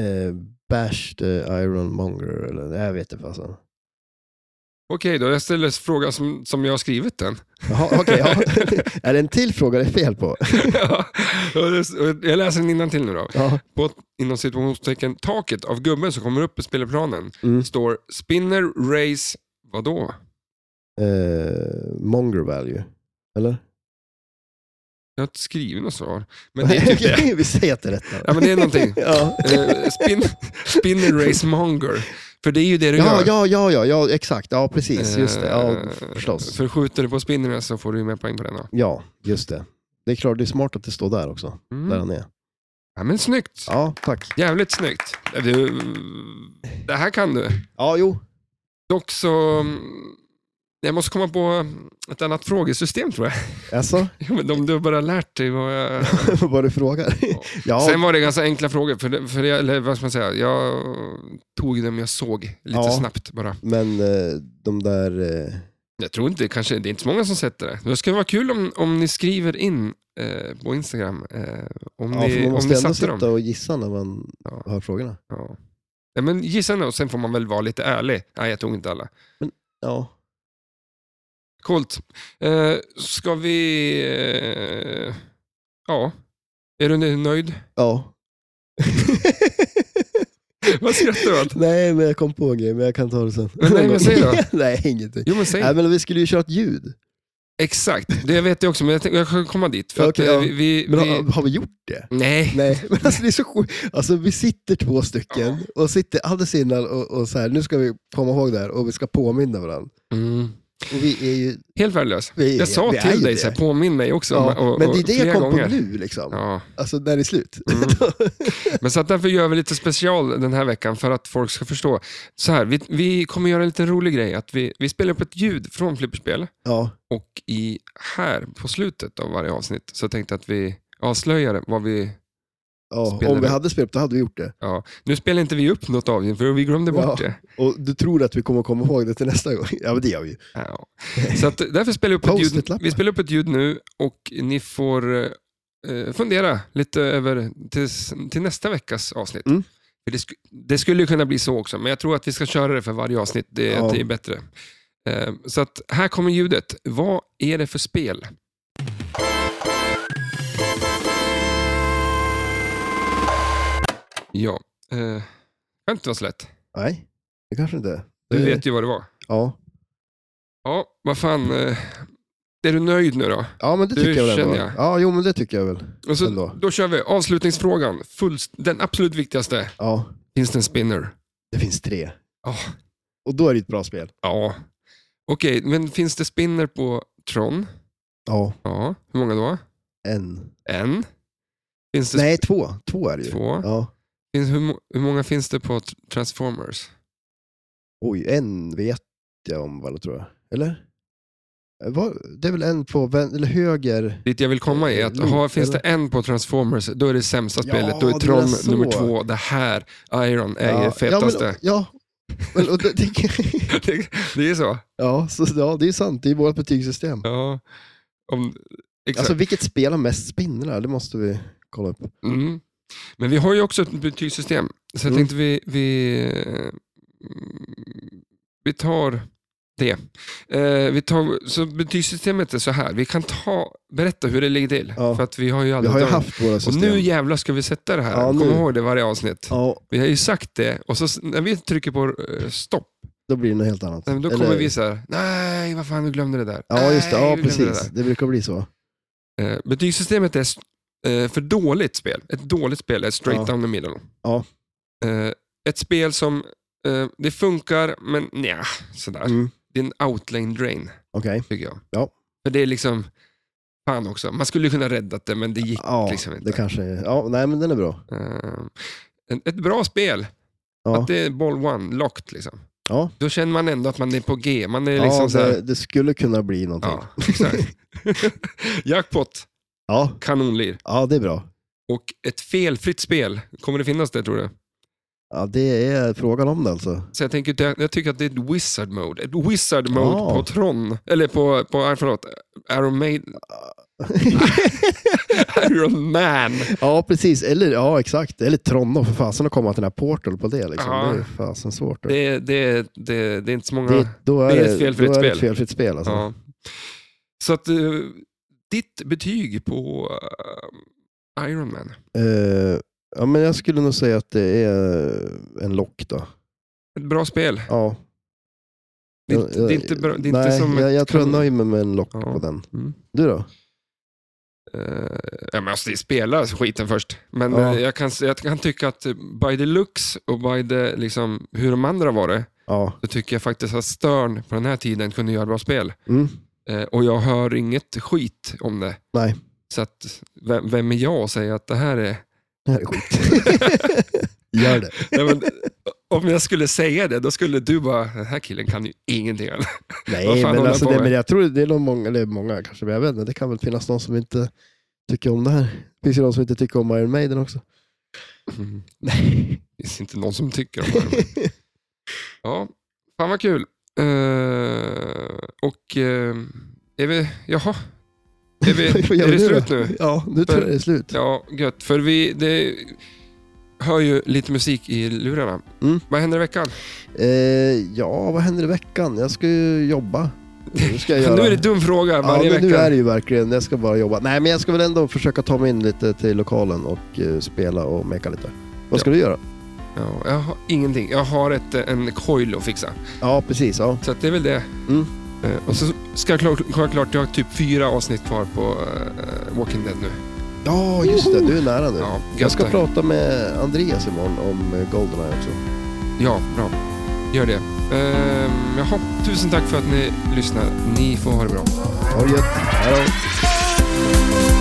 B: eh, bashed eh, Ironmonger eller jag vet inte fasen.
A: Okej då, jag ställer frågan som, som jag har skrivit den. *laughs*
B: Jaha, okej. ja. *laughs* är det en till fråga det är fel på?
A: Ja, och det- och jag läser den till nu då.
B: Ja.
A: På, inom situationstecken, taket av gubben som kommer upp i spelplanen
B: Mm.
A: står spinner, race, vadå?
B: Eh, monger value, eller?
A: Jag har inte skrivit något svar. Men det är typ
B: *laughs*
A: det.
B: Vi säger att det är rätt.
A: Ja,
B: då.
A: men det är någonting.
B: *laughs* Ja.
A: Eh, spin, spinner, race, monger. För det är ju det du
B: Ja,
A: gör.
B: ja, ja, ja, ja, exakt. Ja, precis. Just det. Ja,
A: Eh,
B: förstås.
A: För skjuter du på spinnerna så får du ju mer poäng på den. Då.
B: Ja, just det. Det är klart, det är smart att det står där också. Där
A: Mm.
B: han är.
A: Ja, men snyggt.
B: Ja, tack.
A: Jävligt snyggt. Du, det här kan du.
B: Ja, jo.
A: Dock så... mm, Jag måste komma på ett annat frågesystem tror jag. *laughs*
B: Alltså,
A: Jo, men om du bara lärt dig vad jag...
B: *laughs* vad du frågar. Ja,
A: *laughs* Sen var det ganska enkla frågor, för, det- för jag, eller vad ska man säga, jag tog dem jag såg lite
B: Ja.
A: snabbt bara.
B: men eh, de där... eh,
A: Jag tror inte, kanske, det är inte så många som sätter det. Det skulle vara kul om, om ni skriver in eh, på Instagram eh, om,
B: Ja, för
A: ni, om
B: man
A: ni
B: måste ändå
A: satte dem.
B: sitta och gissa när man
A: Ja.
B: hör frågorna.
A: Ja. Nej, men gissa nu, och sen får man väl vara lite ärlig. Nej, jag tog inte alla.
B: Ja.
A: Coolt. Eh, ska vi... Eh, ja. Är du nöjd? *laughs*
B: ja. *laughs*
A: Vad skrattar du åt?
B: nej, men jag kom på en grej, men jag kan ta det sen.
A: Men nej, men säg då.
B: *laughs* nej, ingenting.
A: Jo, men säg.
B: Nej, Äh, men vi skulle ju köra ett ljud.
A: Exakt, det vet jag också, men jag, tänkte, jag kan komma dit. För att,
B: Okej,
A: eh,
B: ja.
A: vi, vi,
B: Men
A: vi,
B: har, har vi gjort det?
A: nej.
B: Nej, *laughs* men alltså det är så sjukt. Alltså vi sitter två stycken och sitter alldeles innan och, och så här, nu ska vi komma ihåg det här och vi ska påminna varandra.
A: Mm.
B: Och vi är ju...
A: Helt värdelös.
B: Vi är,
A: Jag sa
B: vi är ju
A: till dig,
B: det.
A: så här, påminn mig också.
B: Ja,
A: och, och,
B: men det är det
A: flera
B: jag kom
A: gånger.
B: på nu, liksom.
A: Ja.
B: alltså när det är slut.
A: Mm. Men så att därför gör vi lite special den här veckan för att folk ska förstå. Så här, vi, vi kommer göra en liten rolig grej. Att vi, vi spelar upp ett ljud från flipperspel
B: Ja,
A: och i, här på slutet av varje avsnitt så tänkte jag att vi avslöjar vad vi...
B: ja.
A: Spelar
B: om vi
A: det.
B: hade spelat då hade vi gjort det.
A: Ja. Nu spelar inte vi upp något av det för vi glömde bort
B: Ja.
A: det.
B: Och du tror att vi kommer komma ihåg det till nästa gång? *laughs* Ja, men det gör vi ju.
A: Ja. Så att därför spelar vi upp ett ljud.
B: Post-it-lappar.
A: Vi spelar upp ett ljud nu och ni får eh, fundera lite över tills, till nästa veckas avsnitt.
B: Mm.
A: För det, sk- det skulle ju kunna bli så också, men jag tror att vi ska köra det för varje avsnitt. Det,
B: Ja.
A: det är bättre. Eh, så att här kommer ljudet. Vad är det för spel? Ja, eh, det kan inte vara så lätt.
B: Nej, det kanske inte är.
A: Du
B: Det-
A: vet ju vad det var.
B: Ja,
A: Ja, vad fan. eh, Är du nöjd nu då?
B: ja men det
A: Du
B: tycker jag väl ändå.
A: känner jag.
B: Ja, jo men det tycker jag väl.
A: Och så,
B: Ändå.
A: då kör vi avslutningsfrågan. Fullst, den absolut viktigaste.
B: Ja,
A: Finns det en spinner?
B: det finns tre.
A: Ja.
B: Och då är det ett bra spel.
A: Ja. Okej, men finns det spinner på Tron?
B: Ja,
A: Ja. Hur många då?
B: en.
A: En. Finns det
B: Nej, två. Två är det ju.
A: två?
B: Ja.
A: Finns, hur, mo- hur många finns det på tr- Transformers?
B: Oj, en vet jag om vad det tror jag. Eller? Eh, vad- Det är väl en på vän, eller höger.
A: Dit jag vill komma är att
B: Loop,
A: ha, finns det
B: eller?
A: en på Transformers, då är det sämsta
B: Ja,
A: spelet. Då är
B: det
A: Tron
B: är så.
A: nummer två. Det här, Iron, är det
B: Ja, *laughs* men,
A: fetaste.
B: ja. Men, och det, *laughs*
A: det, det är så.
B: ja, så, ja, det är sant. Det är vårt betygssystem.
A: Ja. Om, exakt.
B: Alltså vilket spel har mest spindlar? Det måste vi kolla upp.
A: Mm. Men vi har ju också ett betygssystem. Så jag
B: Mm.
A: tänkte vi, vi, eh, mm, vi tar det. Eh, vi tar, så betygssystemet är så här. Vi kan ta, berätta hur det ligger till.
B: Ja.
A: För att vi har ju
B: Vi
A: aldrig
B: har ju
A: tagit-
B: haft våra
A: Och
B: system.
A: nu jävlar ska vi sätta det här.
B: Ja,
A: Kom
B: nu.
A: ihåg det varje avsnitt.
B: ja,
A: Vi har ju sagt det och så s- när vi trycker på eh, stopp,
B: då blir det något helt annat.
A: nej, men då
B: Eller-
A: kommer vi så här, nej vad fan du glömde det där.
B: Ja, just det.
A: Nej,
B: Ja,
A: du glömde
B: precis. Det brukar bli så.
A: där." Eh, betygssystemet är s- eh, för dåligt spel. Ett dåligt spel är straight
B: Ja.
A: down the middle.
B: Ja.
A: Eh, ett spel som, eh, det funkar men nja, sådär.
B: Mm.
A: Det är en outlane drain,
B: Okej.
A: tycker jag.
B: Ja.
A: För det är liksom, fan också, man skulle kunna räddat det men det gick
B: Ja,
A: liksom inte.
B: det kanske Ja, nej men den är bra.
A: Eh, en- ett bra spel,
B: Ja.
A: att det är ball one, locked liksom.
B: Ja.
A: Då känner man ändå att man är på G. Man är liksom
B: Ja,
A: så här,
B: det, det skulle kunna bli någonting. Ja.
A: ja, *laughs*
B: *laughs*
A: exakt. Jackpot,
B: Ja,
A: kanonlir.
B: det är bra.
A: Och ett felfritt spel, kommer det finnas det tror du?
B: Ja, det är frågan om det alltså. *laughs*
A: Så jag, tänker, inte- jag tycker att det är ett wizard mode. Ett wizard mode
B: Ja.
A: på Tron, eller på, på ah, förlåt, Iron Maiden. *laughs* Iron Man.
B: ja, precis. Eller ja, exakt. Eller Trondheim för fasen att komma till den här portal på det. Liksom.
A: Ja.
B: Det är fasen svårt. Det,
A: Det, det, det, det är inte så många...
B: då är
A: det är
B: det,
A: ett felfritt
B: då är det
A: spel.
B: ett felfritt spel. Alltså.
A: ja. Så att eh, ditt betyg på eh, Iron Man,
B: Eh, ja, men jag skulle nog säga att det är en lock då.
A: ett bra spel.
B: Ja.
A: Det, är inte- det är inte, bra, det är
B: nej,
A: inte som
B: jag,
A: ett
B: jag tror jag
A: kanon-
B: nöjer mig med en lock
A: Ja.
B: på den.
A: Mm.
B: Du då?
A: Eh, ja, men alltså, det spelar skiten först. Men
B: Ja.
A: eh, jag, kan, jag kan tycka att eh, by the looks och by the, liksom, hur de andra var det,
B: Ja.
A: så tycker jag faktiskt att Stern på den här tiden kunde göra bra spel.
B: Mm.
A: Eh, och jag hör inget skit om det.
B: Nej.
A: Så att, vem, vem är jag att säga att det här är...
B: Det här är skit. *laughs* Gör det.
A: Nej,
B: *laughs*
A: men, om jag skulle säga det, då skulle du bara, den här killen kan ju ingenting. Vad
B: Nej,
A: fan
B: men,
A: håller
B: alltså,
A: jag på
B: det,
A: med?
B: men jag tror det är nog många, eller många kanske, men jag vet inte, det kan väl finnas någon som inte tycker om det här. Det finns ju de som inte tycker om Iron Maiden också.
A: Mm.
B: Nej.
A: Det finns inte någon som tycker om det. här. Ja, fan vad kul. Eh, och eh, är vi... Jaha. *laughs* Är, vi,
B: *laughs* Vad gör
A: är
B: vi
A: det
B: nu
A: slut
B: då?
A: nu?
B: Ja, nu tror jag det är slut.
A: Ja, gött. För vi det, hör ju lite musik i lurarna.
B: Mm.
A: Vad händer i veckan?
B: Eh, ja, vad händer i veckan? Jag ska ju jobba. Nu ska jag göra.
A: *laughs* Nu är det dum fråga
B: Ja,
A: varje
B: men nu
A: vecka.
B: är det ju verkligen. Jag ska bara jobba. Nej, men jag ska väl ändå försöka ta mig in lite till lokalen och eh, spela och meka lite. Vad ska du göra?
A: Ja, jag har ingenting. Jag har ett, eh, en coil att fixa.
B: Ja, precis. Ja.
A: Så att det är väl det.
B: Mm.
A: Eh, och så ska jag klart, klart, klart, jag har typ fyra avsnitt kvar på eh, Walking Dead nu.
B: Ja, just det. Du är nära nu.
A: Ja, gött.
B: jag ska
A: det.
B: prata med Andreas imorgon om eh, Goldeneye också.
A: Ja, bra. Gör det. Ehm, jaha, tusen tack för att ni lyssnar. Ni får ha det bra.
B: Ha det gött. Hej då.